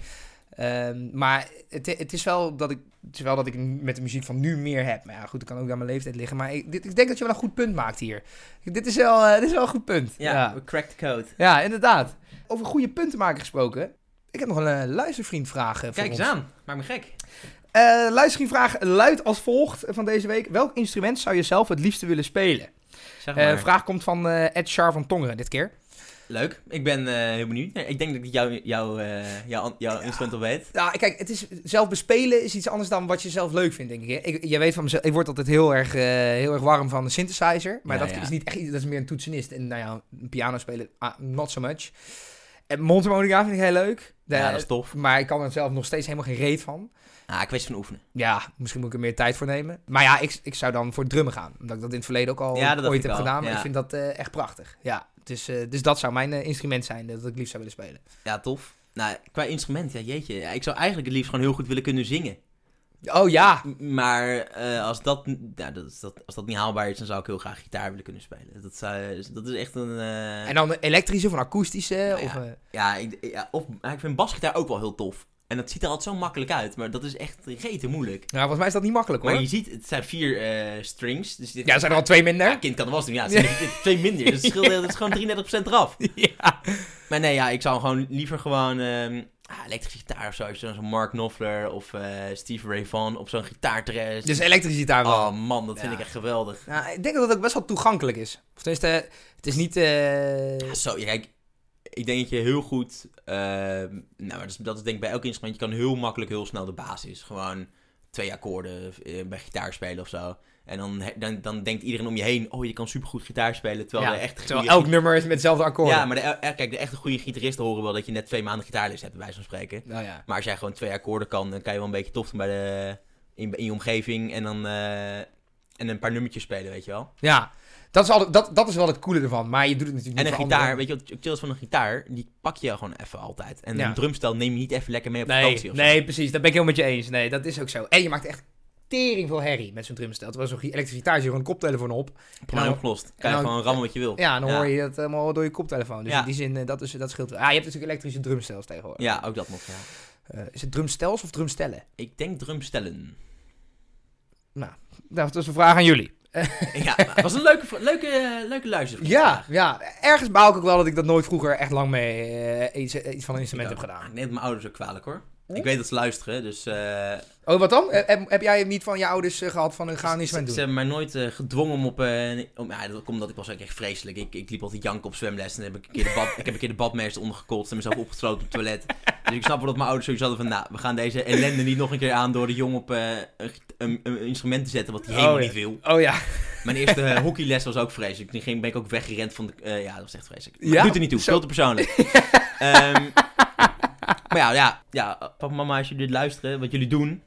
Ehm, maar het, het, is wel dat ik, het is wel dat ik met de muziek van nu meer heb. Maar ja, goed, dat kan ook aan mijn leeftijd liggen. Maar ik, dit, ik denk dat je wel een goed punt maakt hier. Dit is wel, eh, dit is wel een goed punt. Ja, ja. we crack the code. Ja, inderdaad. Over goede punten maken gesproken. Ik heb nog een eh, luistervriendvraag eh, voor Kijk eens ons. aan, maak me gek. Eh, luistervriendvraag luidt als volgt van deze week. Welk instrument zou je zelf het liefste willen spelen? Zeg Eh, maar. vraag komt van eh, Ed Char van Tongeren dit keer. Leuk, ik ben eh, heel benieuwd. Nee, Ik denk dat ik jou, jou, eh, jou, jouw instrument al weet. Nou, kijk, het is, zelf bespelen is iets anders dan wat je zelf leuk vindt, denk ik. hè. ik je weet van mezelf, ik word altijd heel erg, eh, heel erg warm van de synthesizer. Maar Ja, dat ja. is niet echt, iets- dat is meer een toetsenist. En nou ja, een piano spelen, ah, not so much. En mondharmonica vind ik heel leuk. De- ja, dat is tof. Maar ik kan er zelf nog steeds helemaal geen reet van. Ah, kwestie van oefenen. Ja, misschien moet ik er meer tijd voor nemen. Maar ja, ik, ik zou dan voor drummen gaan. Omdat ik dat in het verleden ook al Ja, dat dacht ooit ik heb al, gedaan. Maar ja. ik vind dat eh, echt prachtig. Ja, dus, eh, dus dat zou mijn eh, instrument zijn dat ik liefst zou willen spelen. Ja, tof. Nou, qua instrument, ja jeetje. Ja, ik zou eigenlijk het liefst gewoon heel goed willen kunnen zingen. Oh ja, M- Maar eh, als, dat, n- ja, dat, is- dat, als dat niet haalbaar is, dan zou ik heel graag gitaar willen kunnen spelen. Dat, zou, dus dat is echt een... eh, en dan elektrische of een akoestische. of, eh, Nou ja, ik, ja, of, ja, ik vind basgitaar ook wel heel tof. En dat ziet er altijd zo makkelijk uit, maar dat is echt rete moeilijk. Nou, volgens mij is dat niet makkelijk hoor. Maar je ziet, het zijn vier eh, strings. Dus "Ah, dit, Ja, er zijn er al twee minder. ja, kind kan er was doen. Ja, het zijn er twee minder. Dus het scheelt- dat is gewoon 33% eraf. Ja. Maar nee, ja, ik zou gewoon liever gewoon ehm, ah, elektrische gitaar of zo. Als je dan zo'n Mark Knopfler of eh, Steve Ray Vaughan op zo'n gitaarterres. Dus elektrische gitaar wel. oh man, dat vind Ja. ik echt geweldig. Nou, ik denk dat het ook best wel toegankelijk is. Of tenminste, eh, het is niet... eh, Ja, zo, ja, kijk, ik denk dat je heel goed, ehm, nou, maar dat is, dat is denk ik bij elk instrument, je kan heel makkelijk heel snel de basis. Gewoon twee akkoorden eh, bij gitaar spelen of zo. En dan, he- dan, dan denkt iedereen om je heen, oh, je kan supergoed gitaar spelen, terwijl ja, de echt terwijl elk nummer is met hetzelfde akkoord. Ja, maar de, eh, kijk, de echte goede gitaristen horen wel dat je net twee maanden gitaarles hebt, bij wijze van spreken. Nou ja. Maar als jij gewoon twee akkoorden kan, dan kan je wel een beetje tof doen bij de, in, in je omgeving en dan eh, en een paar nummertjes spelen, weet je wel. Ja, dat is, altijd, dat, dat is wel het coole ervan. Maar je doet het natuurlijk En niet een voor gitaar, anderen. weet je wat het chill is van een gitaar? Die pak je gewoon even altijd. En Ja. een drumstel neem je niet even lekker mee op vakantie Nee, of zo. nee, precies. Dat ben ik helemaal met je eens. Nee, dat is ook zo. En je maakt echt tering veel herrie met zo'n drumstel. Terwijl zo'n gi- elektrische gitaar zit gewoon een koptelefoon op. Probleem Nou, opgelost. Kan je nou, gewoon rammen wat je wil. Ja, en dan hoor je dat helemaal door je koptelefoon. Dus Ja. in die zin, eh, dat, is, dat scheelt wel. Ah, je hebt natuurlijk elektrische drumstels tegenwoordig. Ja, ook dat nog. ja. Eh, is het drumstels of drumstellen? Ik denk drumstellen. Nou, dat is een vraag aan jullie. ja, nou, was een leuke, leuke, eh, leuke luister. Ja, ja. Ergens baal ik ook wel dat ik dat nooit vroeger echt lang mee eh, iets, iets van een instrument heb Ah, gedaan. Ik neem het mijn ouders ook kwalijk hoor. Ik weet dat ze luisteren, dus... eh, Oh, wat dan? Eh, Heb, heb jij het niet van je ouders eh, gehad van een gaan Ze, instrument ze doen? hebben mij nooit eh, gedwongen om op... eh, om, ja, dat komt omdat ik was ook echt vreselijk. Ik, ik liep altijd janken op zwemles. En heb ik, een keer de bad, ik heb een keer de badmeester ondergekotst en mezelf opgesloten op het toilet. Dus ik snap wel dat mijn ouders sowieso hadden van... Nou, we gaan deze ellende niet nog een keer aan door de jong op eh, een, een- een instrument te zetten wat hij helemaal Oh, ja. niet wil. Oh ja. Mijn eerste eh, hockeyles was ook vreselijk. Toen ging, ben ik ook weggerend van de... eh, ja, dat was echt vreselijk. Maar Ja? het doet er niet toe. Zo. Veel te persoonlijk. Ehm, maar ja, ja, ja, papa, mama, als jullie dit luisteren, wat jullie doen...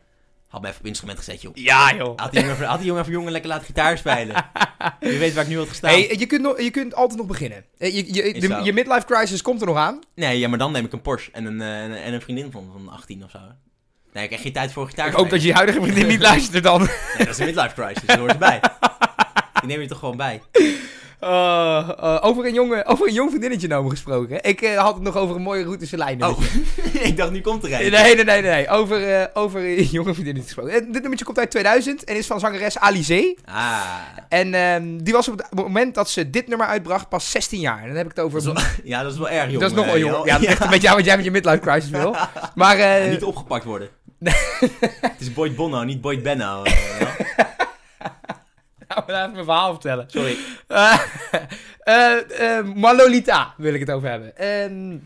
Had me even op instrument gezet, joh. Ja, joh. Had die jongen, had die jongen even jongen lekker laten gitaar spelen. Je weet waar ik nu had gestaan. Hey, je, kunt nog, je kunt altijd nog beginnen. Eh, Je, je, Is de- zo. je midlife crisis komt er nog aan. Nee, ja, maar dan neem ik een Porsche en een, eh, en een- en een vriendin van, van 18 of zo. Nee, ik heb geen tijd voor gitaar. Ik hoop dat je je huidige vriendin niet luistert dan. spelen. Nee, dat is een midlife crisis, daar hoort het bij. Die neem je toch gewoon bij. Eh, eh, over, een jonge, over een jong vriendinnetje nou gesproken. hè. Ik eh, had het nog over een mooie route zijn lijn. Oh, ik dacht nu komt er Nee, een. nee, nee, nee. nee. Over, eh, over een jonge vriendinnetje gesproken. Eh, dit nummertje komt uit 2000 en is van zangeres Alizé. Ah, En ehm, die was op het moment dat ze dit nummer uitbracht pas 16 jaar. En dan heb ik het over... dat is wel- ja, dat is wel erg, jongen. Dat is nog wel eh, jong. joh. Ja, dat ligt een beetje aan wat jij met je midlife crisis wil. Maar eh, Ja, Niet opgepakt worden. het is Boyd Bonno, niet Boyd Benno. eh, wel. laat me even mijn verhaal vertellen. Sorry. Eh, eh, eh, maar Lolita wil ik het over hebben. Ehm,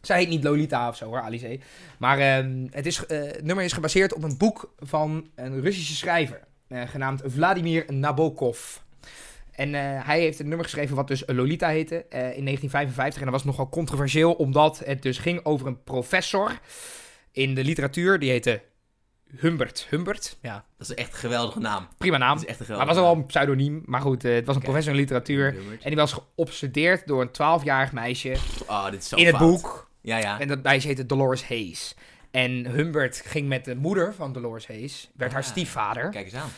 zij heet niet Lolita of zo hoor, Alice. Maar ehm, het, is, eh, het nummer is gebaseerd op een boek van een Russische schrijver. eh, genaamd Vladimir Nabokov. En eh, hij heeft een nummer geschreven wat dus Lolita heette eh, in 1955. En dat was nogal controversieel omdat het dus ging over een professor in de literatuur. Die heette Humbert. Humbert, ja, Dat is echt een geweldige naam. prima naam. Dat is echt een Maar het geweldige was al wel een pseudoniem. Maar goed, eh, het was een professor in literatuur. En die was geobsedeerd door een 12-jarig meisje Oh, dit is zo in het fout. boek. Ja, ja. En dat meisje heette Dolores Hayes. En Humbert ging met de moeder van Dolores Hayes, werd haar Ah. stiefvader. Kijk eens aan.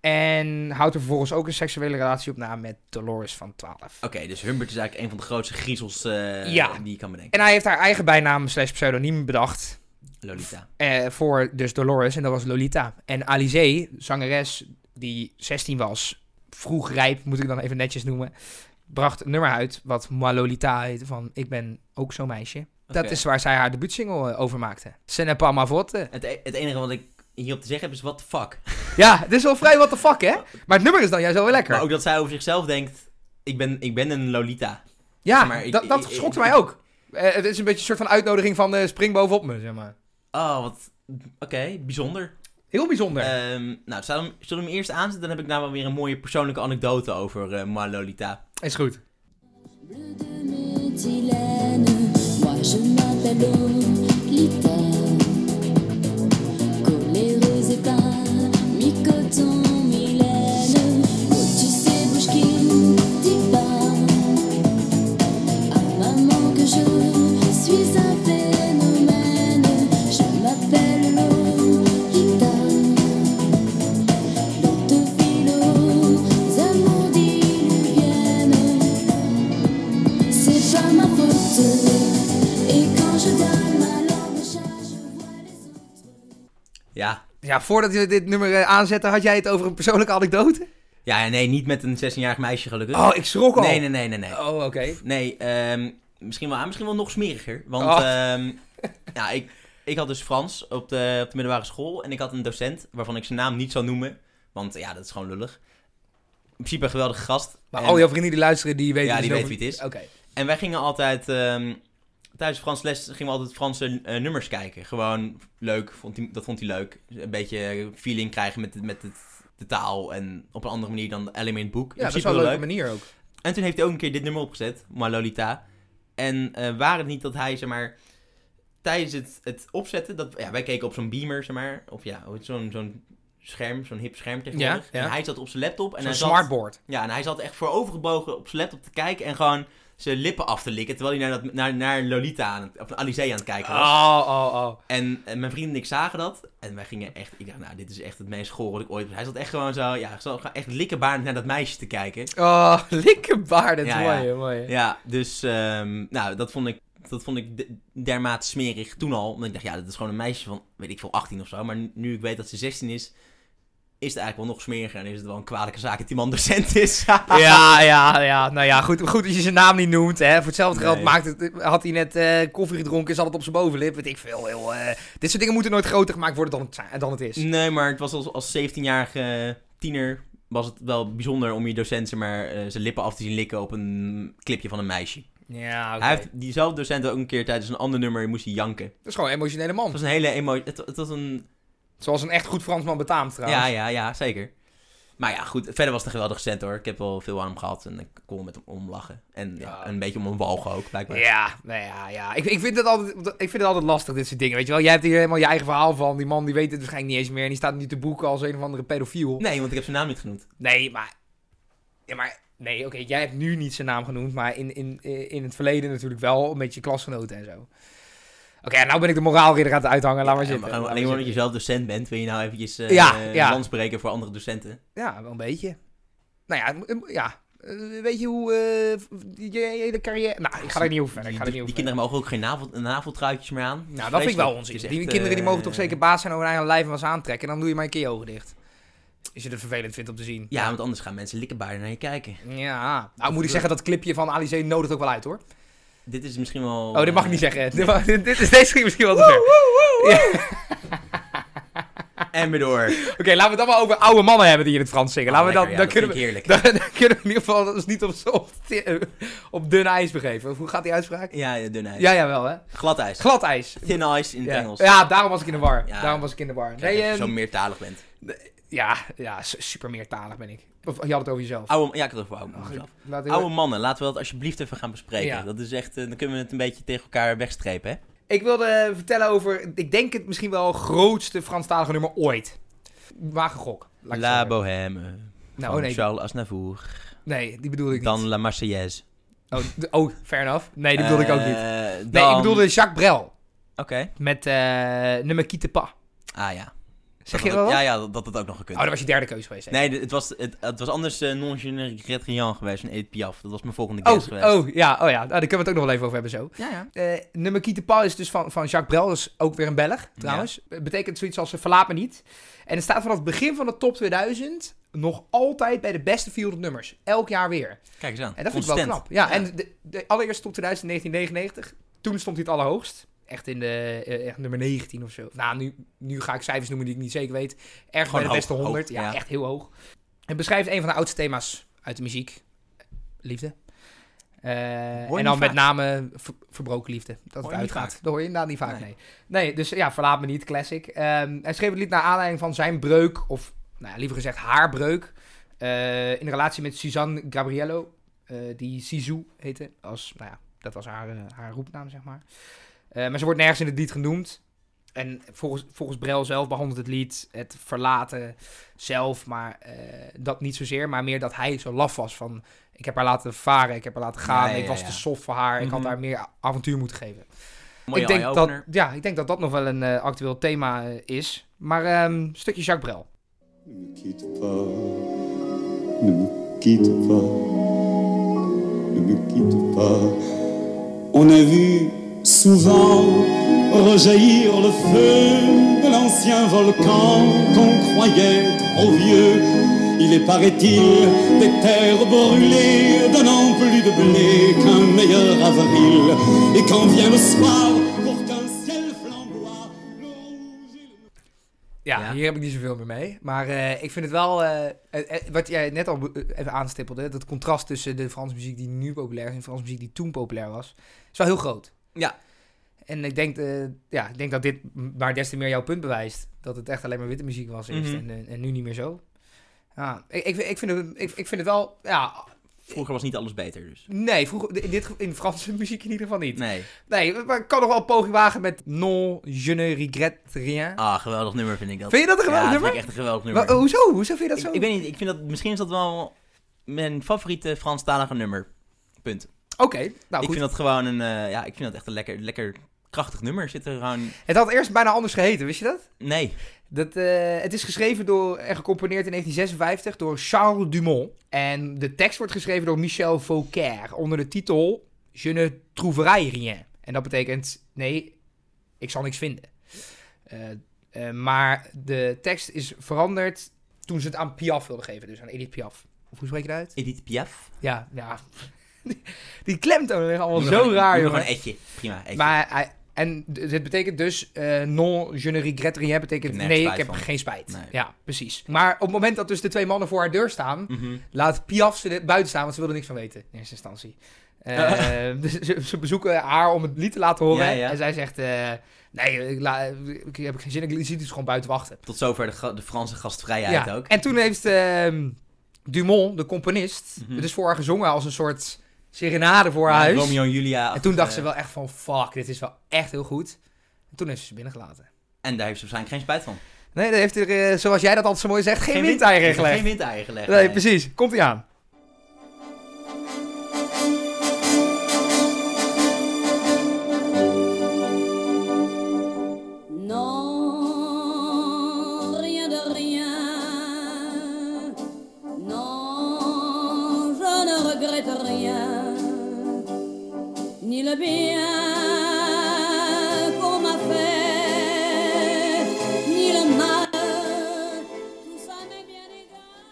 En houdt er vervolgens ook een seksuele relatie op na met Dolores van 12. Oké, dus Humbert is eigenlijk een van de grootste griezels eh, Ja. die je kan bedenken. En hij heeft haar eigen bijnaam slash pseudoniem bedacht. Lolita. eh, voor dus Dolores en dat was Lolita. En Alizé, zangeres die 16 was, vroeg rijp moet ik dan even netjes noemen, bracht een nummer uit wat Moi Lolita heette van Ik ben ook zo'n meisje. Dat Oké. is waar zij haar debuutsingle eh, over maakte. Ce n'est pas ma faute. Het, e- het enige wat ik hierop te zeggen heb is what the fuck. Ja, dit is wel vrij what the fuck hè? Maar het nummer is dan juist wel weer lekker. Maar ook dat zij over zichzelf denkt, ik ben, ik ben een Lolita. ja, maar ik- dat, dat ik- schokte ik- mij ook. Eh, het is een beetje een soort van uitnodiging van eh, spring bovenop me, zeg maar. Oh, wat... Oké, bijzonder. Heel bijzonder. Ehm, nou, zullen we, hem- zullen we hem eerst aanzetten? Dan heb ik daar wel weer een mooie persoonlijke anekdote over eh Ma Lolita. is goed. Bleu de méthylène, moi je m'appelle Lita. Coléreuse et pas mi-coton, mi-laine. Oh, tu sais, bouche qui ne dit pas à maman que je suis un phénomène. Je m'appelle Lolita. L'autre philo, amours diluviennes. C'est pas ma faute. Et quand je donne ma langue au chat, je vois les autres. Ja. Ja, voordat je dit nummer eh, aanzette, had jij het over een persoonlijke anekdote? Ja, nee, niet met een 16-jarig meisje gelukkig. Oh, ik schrok al. nee, nee, nee, nee, nee. Oh, oké. Nee, ehm, Misschien wel, misschien wel nog smeriger. Want Oh. ehm, ja, ik, ik had dus Frans op de, op de middelbare school. En ik had een docent waarvan ik zijn naam niet zou noemen. Want ja, dat is gewoon lullig. In principe een geweldige gast. Maar en, al jouw vrienden die luisteren, die weten, Ja, dus die wel weten wie het is. Oké. en wij gingen altijd... ehm, tijdens Frans les gingen we altijd Franse eh, nummers kijken. Gewoon leuk, vond hij, dat vond hij leuk. Dus Een beetje feeling krijgen met, met het, de taal. En op een andere manier dan alleen maar in het boek. In Ja, dat is principe wel een heel leuke leuk. Nou, manier ook. En toen heeft hij ook een keer dit nummer opgezet, Maar Lolita. En eh waren het niet dat hij, zeg maar, tijdens het, het opzetten, dat, ja, wij keken op zo'n beamer, zeg maar, of ja, hoe heet zo'n zo'n scherm, zo'n hip scherm tegenwoordig. Ja, ja. En hij zat op zijn laptop en Zo'n hij zat, smartboard. ja, en hij zat echt voorovergebogen op zijn laptop te kijken en gewoon zijn lippen af te likken, terwijl hij naar, dat, naar, naar Lolita, aan het, of Alizé aan het kijken was. Oh, oh, oh. En, en mijn vrienden en ik zagen dat. En wij gingen echt. Ik dacht, nou, dit is echt het meest goor wat ik ooit. Hij zat echt gewoon zo. Ja, hij zat echt likkenbaar naar dat meisje te kijken. Oh, likkenbaard. Dat is Ja, mooi, ja. hè, mooi. hè. Ja, dus ehm, nou, dat vond ik, dat vond ik de- dermate smerig toen al. Omdat ik dacht, ja, dat is gewoon een meisje van, weet ik veel, 18 of zo. Maar nu- nu ik weet dat ze 16 is, is het eigenlijk wel nog smeriger. En is het wel een kwalijke zaak dat die man docent is. Ja, ja, ja. Nou ja, goed, goed als je zijn naam niet noemt. Hè. Voor hetzelfde geld Nee. maakt het, had hij net eh, koffie gedronken, zat het op zijn bovenlip. Weet ik veel. Heel, eh, dit soort dingen moeten nooit groter gemaakt worden dan het, zijn- dan het is. Nee, maar het was als, als 17-jarige tiener was het wel bijzonder om je docent zeg maar, eh, zijn lippen af te zien likken op een clipje van een meisje. Ja, oké. Hij heeft diezelfde docent ook een keer tijdens een ander nummer moest hij janken. Dat is gewoon een emotionele man. Het was een hele emo... Het, het was een... Zoals een echt goed Fransman betaamt trouwens. Ja, ja, ja, zeker. Maar ja, goed. Verder was het een geweldige cent hoor. Ik heb wel veel aan hem gehad en ik kon met hem omlachen. En ja, Ja. een beetje om een walgen ook, blijkbaar. Ja, nou ja, ja. Ik, ik, vind het altijd, ik vind het altijd lastig, dit soort dingen. Weet je wel, jij hebt hier helemaal je eigen verhaal van. Die man die weet het waarschijnlijk niet eens meer. En die staat nu te boeken als een of andere pedofiel. Nee, want ik heb zijn naam niet genoemd. Nee, maar. Ja, maar. Nee, oké, jij hebt nu niet zijn naam genoemd. Maar in, in, in het verleden natuurlijk wel. Met je klasgenoten en zo. Oké, nou ben ik de moraalridder aan het uithangen. Laat maar Ja, zitten. maar gewoon laat alleen maar maar omdat je zelf docent bent, wil je nou eventjes eh Ja, eh, ja. lans breken voor andere docenten. zitten. Ja, wel een beetje. Nou ja, het moet- het moet- ja. Eh, Weet je hoe. eh, je je hele carrière. Nou, ik ga er niet over verder. Ik die ga er niet die over kinderen mogen ook geen navel, naveltruitjes meer aan. Nou, dat vind ik wel onzin. Het is Die echt, kinderen die eh, mogen toch zeker baas zijn over hun eigen lijf en was aantrekken. En dan doe je maar een keer je ogen dicht. Als je het vervelend vindt om te zien. Ja, want anders gaan mensen likkenbaarder naar je kijken. Ja. Nou moet ik zeggen, dat clipje van Alice nodigt ook wel uit hoor. Dit is misschien wel... Oh, dit mag ik eh, niet zeggen. Dit, mag- dit, dit is deze ging misschien wel te ver. En weer door. Oké, laten we het allemaal over oude mannen hebben die in het Frans zingen. Laten we Oh, dan, lekker, dan, ja, kunnen dat we, vind ik dan, dan kunnen we in ieder geval ons niet op, op, op dun ijs begeven. Of hoe gaat die uitspraak? Ja, ja, dun ijs. Ja, ja, wel hè. Glad ijs. Glad ijs. Thin ice in het Ja. Engels. ja, daarom was ik in de war. Ja. Daarom was ik in de war. Als Nee, je eh, zo meertalig bent. ja, ja, su- super meertalig ben ik. Of je had het over jezelf. Oude, ja, ik had het over oude mannen. zelf. Laat ik- Oude mannen, laten we dat alsjeblieft even gaan bespreken. Ja. Dat is echt, eh, dan kunnen we het een beetje tegen elkaar wegstrepen, hè? Ik wilde eh, vertellen over, ik denk het misschien wel grootste Franstalige nummer ooit. Waag een gok. laat ik het zo zeggen. La Bohème, Nou, van nee, die- Charles Aznavour, nee, die bedoelde ik dan niet. La Marseillaise. Oh, d- oh, fair enough. Nee, die bedoelde ik ook niet. Eh, Nee, dan- ik dus- bedoelde Jacques Brel Oké. met eh nummer Quitte Pas. Ah ja. Zeg Dat je had- wel wat? Ja, ja, dat dat had ook nog gekund. Oh, dat was je derde keuze geweest. hè? Nee, d- het was, het, het was anders eh, non generique Red Rian geweest van Edith Piaf. Dat was mijn volgende guest Oh, geweest. oh, ja, oh ja, nou, daar kunnen we het ook nog wel even over hebben zo. Ja, ja. Eh, nummer Quitte Pas is dus van, van Jacques Brel, dat is ook weer een Belg trouwens. Het Betekent zoiets als eh, verlaat me niet. En het staat vanaf het begin van de top 2000 nog altijd bij de beste 400 nummers. Elk jaar weer. Kijk eens aan. En dat vind ik wel Consistent. knap. Ja, en de, de allereerste top 2000 in 1999. Toen stond hij het allerhoogst. Echt in de eh, echt nummer 19 of zo. Nou, nu, nu ga ik cijfers noemen die ik niet zeker weet. Erg Gewoon bij de hoog, beste 100. hoog, ja, ja. echt heel hoog. Het beschrijft een van de oudste thema's uit de muziek. Liefde. Eh, niet en dan met vaak. name ver- verbroken liefde. Dat niet het uitgaat. vaak. Dat hoor je inderdaad niet vaak, nee. Nee. nee. dus ja, verlaat me niet, classic. Ehm, hij schreef het lied naar aanleiding van zijn breuk, of nou ja, liever gezegd haar breuk, eh, in relatie met Suzanne Gabriello. Eh, die Sisu heette. Als, nou ja, dat was haar, eh, haar roepnaam, zeg maar. Eh, maar ze wordt nergens in het lied genoemd. En volgens, volgens Brel zelf behandelt het lied het verlaten zelf, maar eh, dat niet zozeer. Maar meer dat hij zo laf was van, ik heb haar laten varen, ik heb haar laten gaan, Ja, ja, ik was ja. te soft voor haar, ik had Mhm. haar meer a- avontuur moeten geven. Mooie ik, denk dat, eye-opener. ja, ik denk dat dat nog wel een eh, actueel thema eh, is. Maar ehm, een stukje Jacques Brel. Ne me quitte pas, ne me quitte pas, ne me quitte pas. On a vu souvent rejaillir le feu de l'ancien volcan qu'on croyait trop vieux Il est, paraît-il, des terres brûlées, donnant plus de blé qu'un meilleur avril. Et quand vient le soir, pour qu'un ciel flamboie, le rouge et le Ja, Ja. hier heb ik niet zoveel meer mee. Maar eh, ik vind het wel, eh, eh, eh, wat jij net al be- eh, even aanstippelde, dat contrast tussen de Franse muziek die nu populair is en de Franse muziek die toen populair was, is wel heel groot. Ja. En ik denk, eh, ja, ik denk dat dit m- maar des te meer jouw punt bewijst, dat het echt alleen maar witte muziek was eerst Mhm. en, eh, en nu niet meer zo. Ja, ik, ik, ik, vind het, ik, ik vind het wel, ja, Vroeger was niet alles beter, dus. nee, vroeger, in, dit, ge- in Franse muziek in ieder geval niet. Nee. Nee, maar ik kan nog wel een poging wagen met Non, je ne regrette rien. Ah, geweldig nummer vind ik dat. Vind je dat een geweldig ja, nummer? vind ik echt een geweldig nummer. Maar, hoezo? Hoezo vind je dat ik, zo? ik weet niet, ik vind dat, misschien is dat wel mijn favoriete Franstalige nummer. Punt. Oké, nou ik goed. vind dat gewoon een, eh, ja, ik vind dat echt een lekker, lekker krachtig nummer. Zit er gewoon, Het had eerst bijna anders geheten, wist je dat? nee. dat eh, het is geschreven door, en gecomponeerd in 1956 door Charles Dumont. En de tekst wordt geschreven door Michel Fauquer onder de titel Je ne trouverai rien. En dat betekent, nee, ik zal niks vinden. Eh, eh, maar de tekst is veranderd toen ze het aan Piaf wilden geven, dus aan Edith Piaf. Of hoe spreek je dat uit? Edith Piaf. Ja, ja. Die klemtoon is allemaal Noem zo maar gewoon- raar, noem maar jongen. Gewoon etje. Prima, etje. Maar hij- en d- dit betekent dus eh, non je ne regrette rien betekent Ik heb nergens nee, ik spijt heb van. geen spijt. Nee. Ja, precies. Maar op het moment dat dus de twee mannen voor haar deur staan, Mhm. laat Piaf ze er buiten staan, want ze wilde niks van weten in eerste instantie. Eh, dus ze, ze bezoeken haar om het lied te laten horen Ja, ja. en zij zegt eh, nee, ik, la, ik heb geen zin, ik zit dus gewoon buiten wachten. Tot zover de, ga- de Franse gastvrijheid ook. En toen heeft ehm, Dumont, de componist, het is voor haar gezongen als een soort serenade voor haar Mhm. Ja, huis. Romeo en Julia. En toen dacht ze eh, wel echt van, fuck, dit is wel echt heel goed. En toen heeft ze ze binnengelaten. En daar heeft ze waarschijnlijk geen spijt van. Nee, daar heeft er, eh, zoals jij dat altijd zo mooi zegt, geen, wind windeieren windeieren gelegd. Geen windeieren gelegd. nee, precies. Komt ie aan. Non, rien de rien. Non, je ne regrette rien. Ni le bien qu'on m'a fait, ni le mal. Tout ça m'est bien égal.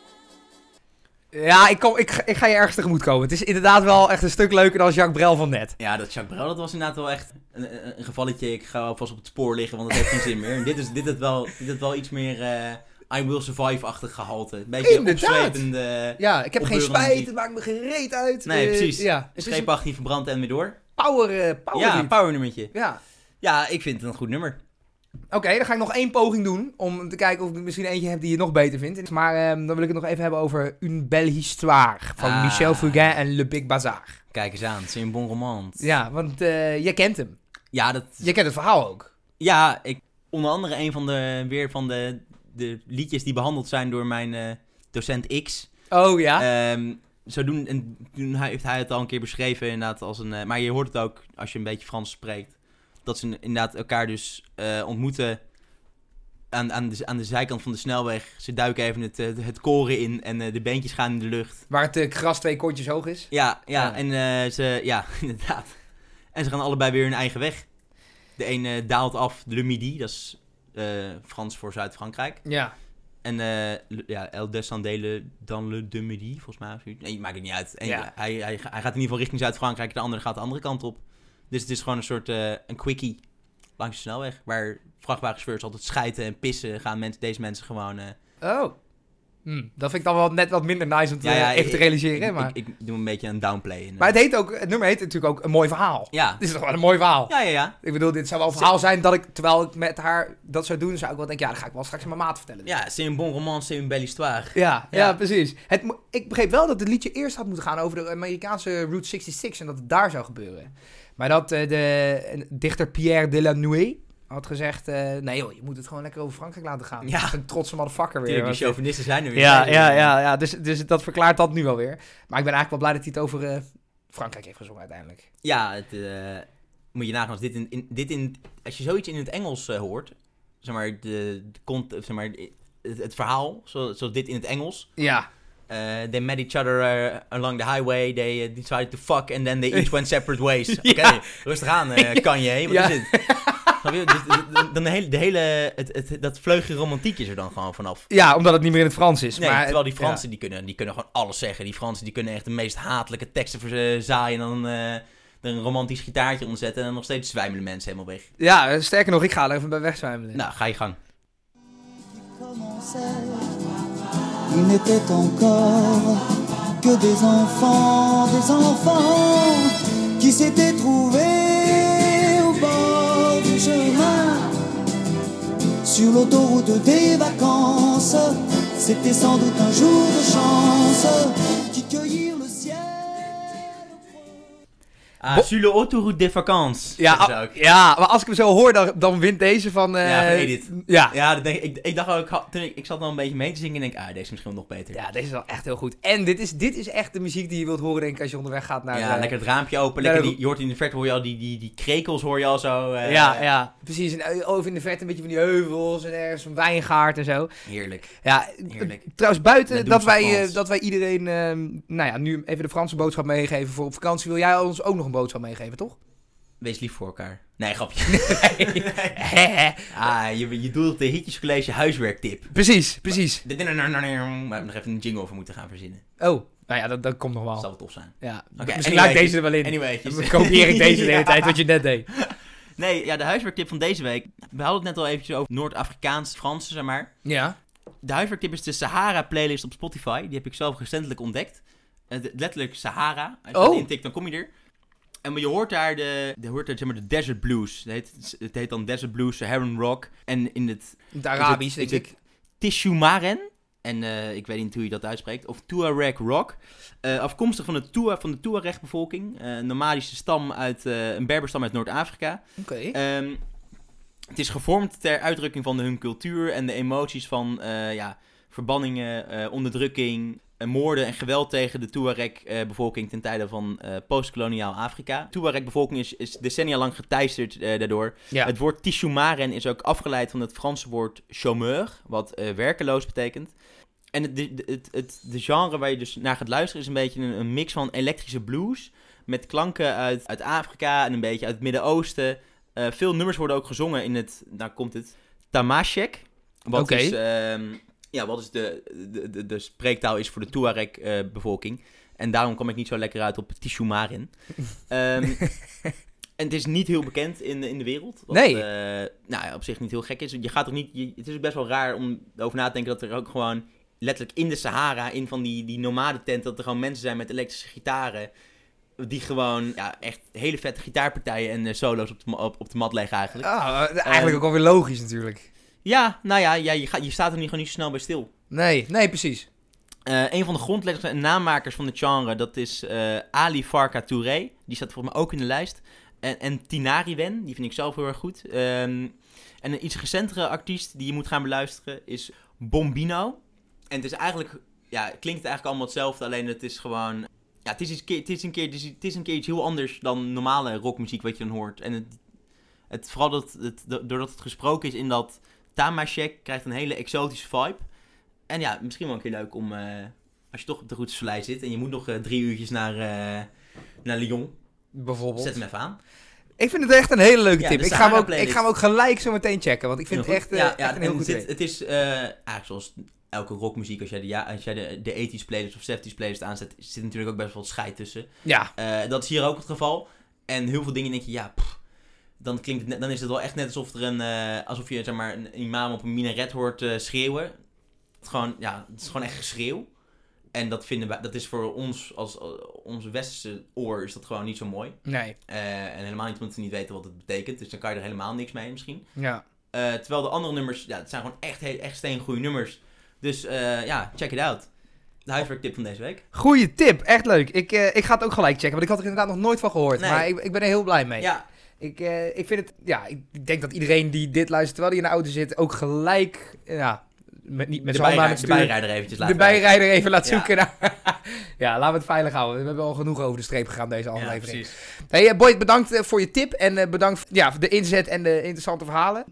Ja, ik, kom, ik, ga- ik ga je ergens tegemoet komen. Het is inderdaad wel echt een stuk leuker dan Jacques Brel van net. Ja, dat Jacques Brel, dat was inderdaad wel echt een, een- een gevalletje. Ik ga alvast op het spoor liggen, want dat heeft geen zin meer. En dit is dit had wel, dit had wel iets meer eh, I Will Survive-achtig gehalte. Een beetje Inderdaad. opzwepende... Ja, ik heb geen Opbeurende spijt, muziek. het maakt me gereed uit. Nee, Eh, precies. Ja, Een het is een streepachtig verbrand en weer door. power, eh, power ja, ja, een power nummertje. ja. Ja, ik vind het een goed nummer. Oké, dan ga ik nog één poging doen om te kijken of ik misschien eentje heb die je nog beter vindt. Maar ehm, dan wil ik het nog even hebben over Une belle histoire van Ah. Michel Fugain en Le Big Bazaar. Kijk eens aan, het is een bon romant. Ja, want eh, jij kent hem. Ja, dat, Jij kent het verhaal ook. ja ik, onder andere een van de, weer van de, de liedjes die behandeld zijn door mijn eh, docent X. Oh ja? Ehm, zo doen, en toen hij- heeft hij het al een keer beschreven, inderdaad, als een... eh, maar je hoort het ook, als je een beetje Frans spreekt, dat ze inderdaad elkaar dus eh, ontmoeten aan, aan, de, aan de zijkant van de snelweg. Ze duiken even het, eh, het koren in en eh, de beentjes gaan in de lucht. Waar het eh, gras twee kontjes hoog is. Ja, ja, Ja. en eh, ze, ja, inderdaad. En ze gaan allebei weer hun eigen weg. De een eh, daalt af de Midi, dat is eh, Frans voor Zuid-Frankrijk. Ja. En eh le- ja, El Descendele dan le de Midi, volgens mij. of zoiets. Nee, maakt het niet uit. En Ja. hij, hij, hij gaat in ieder geval richting Zuid-Frankrijk, de andere gaat de andere kant op. Dus het is gewoon een soort eh, een quickie langs de snelweg. Waar vrachtwagenchauffeurs altijd schijten en pissen, gaan mensen, deze mensen gewoon... eh, Oh. Hm, dat vind ik dan wel net wat minder nice om te, ja, ja, even te ik- realiseren. ik- maar Ik, ik doe een beetje een downplay. En, eh, maar het, heet ook, het nummer heet natuurlijk ook een mooi verhaal. ja. Dit is toch wel een mooi verhaal? ja, ja, ja. Ik bedoel, dit zou wel een verhaal zijn dat ik, terwijl ik met haar dat zou doen, zou ik wel denken, ja, dat ga ik wel straks aan mijn maat vertellen. Ja, c'est un bon roman, c'est une belle histoire. Ja, ja. Ja. precies. Het, mo- ik begreep wel dat het liedje eerst had moeten gaan over de Amerikaanse Route 66 en dat het daar zou gebeuren. Maar dat eh, de en dichter Pierre Delanoë had gezegd, eh, nee joh, je moet het gewoon lekker over Frankrijk laten gaan. Ja. Een trotse motherfucker weer. Tuurlijk, die Want- chauvinisten zijn er weer. Ja, bij. ja, ja, ja. Dus, dus dat verklaart dat nu alweer. Maar ik ben eigenlijk wel blij dat hij het over eh, Frankrijk heeft gezongen uiteindelijk. Ja, het, eh, moet je nagaan als dit in, in- dit in... Als je zoiets in het Engels eh, hoort, zeg maar, de, de cont- zeg maar het, het verhaal, zo- zoals dit in het Engels. Ja. eh, they met each other eh, along the highway, they eh, decided to fuck and then they each went separate ways. Oké, Ja. rustig aan, eh Kanye, wat Ja. is het? Snap je? Dus, eh, dan de hele, de hele, het, het, dat vleugje romantiek is er dan gewoon vanaf. Ja, omdat het niet meer in het Frans is. Nee, maar, terwijl die ja. Fransen, die, kunnen, die kunnen gewoon alles zeggen. Die Fransen, die kunnen echt de meest hatelijke teksten verzaaien en dan eh, er een romantisch gitaartje ontzetten en dan nog steeds zwijmelen mensen helemaal weg. Ja, eh, sterker nog, ik ga er even bij wegzwijmelen. Nou, ga je gang. commençait. Ils n'étaient encore que des enfants, des enfants qui s'étaient trouvés au bord du chemin. Sur l'autoroute des vacances, c'était sans doute un jour de chance qui cueillirent le ciel. Ah, Ah, Bo- sur le autoroute des vacances. ja, ah, eh, zeggen ze a- ook. ja, maar als ik hem zo hoor, dan, dan wint deze van... eh, Ja, van Edith. Ja. Ja, dat denk ik, ik, ik dacht ook, ik had- toen ik, ik zat al een beetje mee te zingen en denk, ah, deze is misschien wel nog beter. ja, deze is wel echt heel goed. En dit is, dit is echt de muziek die je wilt horen, denk ik, als je onderweg gaat naar... Ja, eh, lekker het raampje open. Ja, Lekker dat- die, je hoort in de verte hoor je al die, die, die krekels hoor je al zo. eh, Ja, ja, precies. En eh, over in de verte een beetje van die heuvels en ergens een wijngaard en zo. Heerlijk. Ja, Heerlijk. eh, trouwens buiten Dat doen dat ze wij, Frans. eh, dat wij iedereen, eh, nou ja, nu even de Franse boodschap meegeven voor op vakantie. Wil jij ons ook nog een boodschap meegeven, toch? Wees lief voor elkaar. Nee, grapje. ah, je, je doet op de hitjescollege huiswerktip. precies, precies. Maar nog even een jingle over moeten gaan verzinnen. Oh, nou ja, dat, dat komt nog wel. Dat zal wel tof zijn. Ja, Oké, misschien laat ik anyway. deze er wel in. Anyway, Dan kopieer ik deze de hele Ja. tijd, wat je net deed. Nee, ja, de huiswerktip van deze week. We hadden het net al eventjes over Noord-Afrikaans-Frans, zeg maar. Ja. De huiswerktip is de Sahara-playlist op Spotify. Die heb ik zelf recentelijk ontdekt. Eh, de- letterlijk Sahara. Als je Oh. dat intikt, dan kom je er. En maar je hoort daar de, je hoort daar, zeg maar, de Desert Blues. Het heet, het heet dan Desert Blues, Saharan Rock. En in het Het Arabisch, is het- denk is ik. het Tishumaren. En eh, ik weet niet hoe je dat uitspreekt. Of Tuareg Rock. Eh, afkomstig van de, Tua, van de Tuareg-bevolking. eh, een nomadische stam uit... eh, een berberstam uit Noord-Afrika. Oké. Ehm, het is gevormd ter uitdrukking van hun cultuur en de emoties van eh, ja, verbanningen, eh, onderdrukking, eh, moorden en geweld tegen de Tuareg-bevolking ten tijde van eh postkoloniaal Afrika. De Tuareg-bevolking is, is decennia lang geteisterd eh, daardoor. Ja. Het woord Tishumaren is ook afgeleid van het Franse woord chômeur, wat eh, werkeloos betekent. En het, de- de- het, het, de genre waar je dus naar gaat luisteren is een beetje een, een mix van elektrische blues met klanken uit, uit Afrika en een beetje uit het Midden-Oosten. Eh, veel nummers worden ook gezongen in het, nou komt het, Tamashek. Wat Oké. is, ehm, ja, wat is de, de, de, de spreektaal is voor de Tuareg-bevolking. en daarom kwam ik niet zo lekker uit op Tishumarin. Ehm en het is niet heel bekend in, in de wereld. Wat, Nee. eh, nou ja, op zich niet heel gek is. Je gaat toch niet, je- het is ook best wel raar om over na te denken dat er ook gewoon letterlijk in de Sahara, in van die, die nomadentent, dat er gewoon mensen zijn met elektrische gitaren. Die gewoon ja, echt hele vette gitaarpartijen en eh, solo's op de, ma- op, op de mat leggen eigenlijk. Ah, eh, eigenlijk ook alweer logisch natuurlijk. Ja, nou ja, ja je, gaat, je staat er niet, gewoon niet zo snel bij stil. Nee, nee, precies. Eh, een van de grondleggers en namakers van het genre, dat is eh, Ali Farka Touré. Die staat volgens mij ook in de lijst. En, en Tinariwen, die vind ik zelf heel erg goed. Ehm, en een iets recentere artiest die je moet gaan beluisteren is Bombino. En het is eigenlijk, ja, het klinkt eigenlijk allemaal hetzelfde, alleen het is gewoon... Ja, het is, iets, keer- het, is een keer, het, is, het is een keer iets heel anders dan normale rockmuziek wat je dan hoort. En het, het, vooral dat, het, do- doordat het gesproken is in dat Tamashek krijgt een hele exotische vibe. En ja, misschien wel een keer leuk om, eh, als je toch op de route Soleil zit en je moet nog eh, drie uurtjes naar, eh, naar Lyon, Bijvoorbeeld. zet hem even aan. Ik vind het echt een hele leuke Ja, tip. de ik, ga hem ook, Sahara-playlist. ik ga hem ook gelijk zo meteen checken, want ik vind Heel het echt, goed. eh, ja, echt ja, een heel en goed het, tip. zit- het is eh, eigenlijk zoals elke rockmuziek, als jij de, ja, als jij de, de 80s playlist of 70s playlist aanzet, zit natuurlijk ook best wel wat scheid tussen. Ja, Eh, dat is hier ook het geval. En heel veel dingen denk je, ja, pff, dan, klinkt het net- dan is het wel echt net alsof, er een, eh, alsof je zeg maar, een imam op een minaret hoort eh, schreeuwen. Het, is gewoon, ja, het is gewoon echt geschreeuw. En dat, vinden wij, dat is voor ons, als als onze westerse oor, is dat gewoon niet zo mooi. nee. Eh, en helemaal niet omdat ze niet weten wat het betekent. Dus dan kan je er helemaal niks mee misschien. Ja. Eh, terwijl de andere nummers, ja, het zijn gewoon echt, he- echt steengoede nummers. Dus eh, ja, check it out. De huiswerktip van deze week. Goeie tip, echt leuk. Ik, eh, ik ga het ook gelijk checken, want ik had er inderdaad nog nooit van gehoord. Nee. Maar ik, ik ben er heel blij mee. Ja, Ik, eh, ik vind het, ja, ik denk dat iedereen die dit luistert terwijl hij in de auto zit, ook gelijk, ja, met, niet met de, zijn handen aan bijrijder, het de sturen. bijrijder eventjes De laten bijrijder even laat Ja. zoeken. naar- ja, laten we het veilig houden. We hebben al genoeg over de streep gegaan deze Ja, aflevering. precies. Hey, eh, Boyd, bedankt eh, voor je tip en eh, bedankt voor- ja, voor de inzet en de interessante verhalen.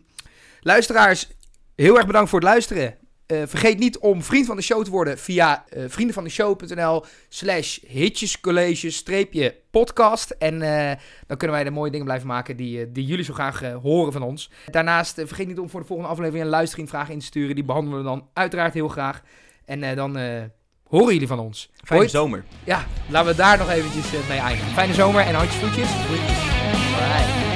Luisteraars, heel erg bedankt voor het luisteren. Eh, vergeet niet om vriend van de show te worden via eh, vriendenvandeshow.nl slash hitjescollege streepje podcast. En eh, dan kunnen wij de mooie dingen blijven maken die, eh, die jullie zo graag eh, horen van ons. Daarnaast eh, vergeet niet om voor de volgende aflevering een luisteringvraag in te sturen. Die behandelen we dan uiteraard heel graag. En eh, dan eh, horen jullie van ons. Fijne Hoi. zomer. Ja, laten we daar nog eventjes eh, mee eindigen. Fijne zomer en handjes voetjes. Doei. Alright.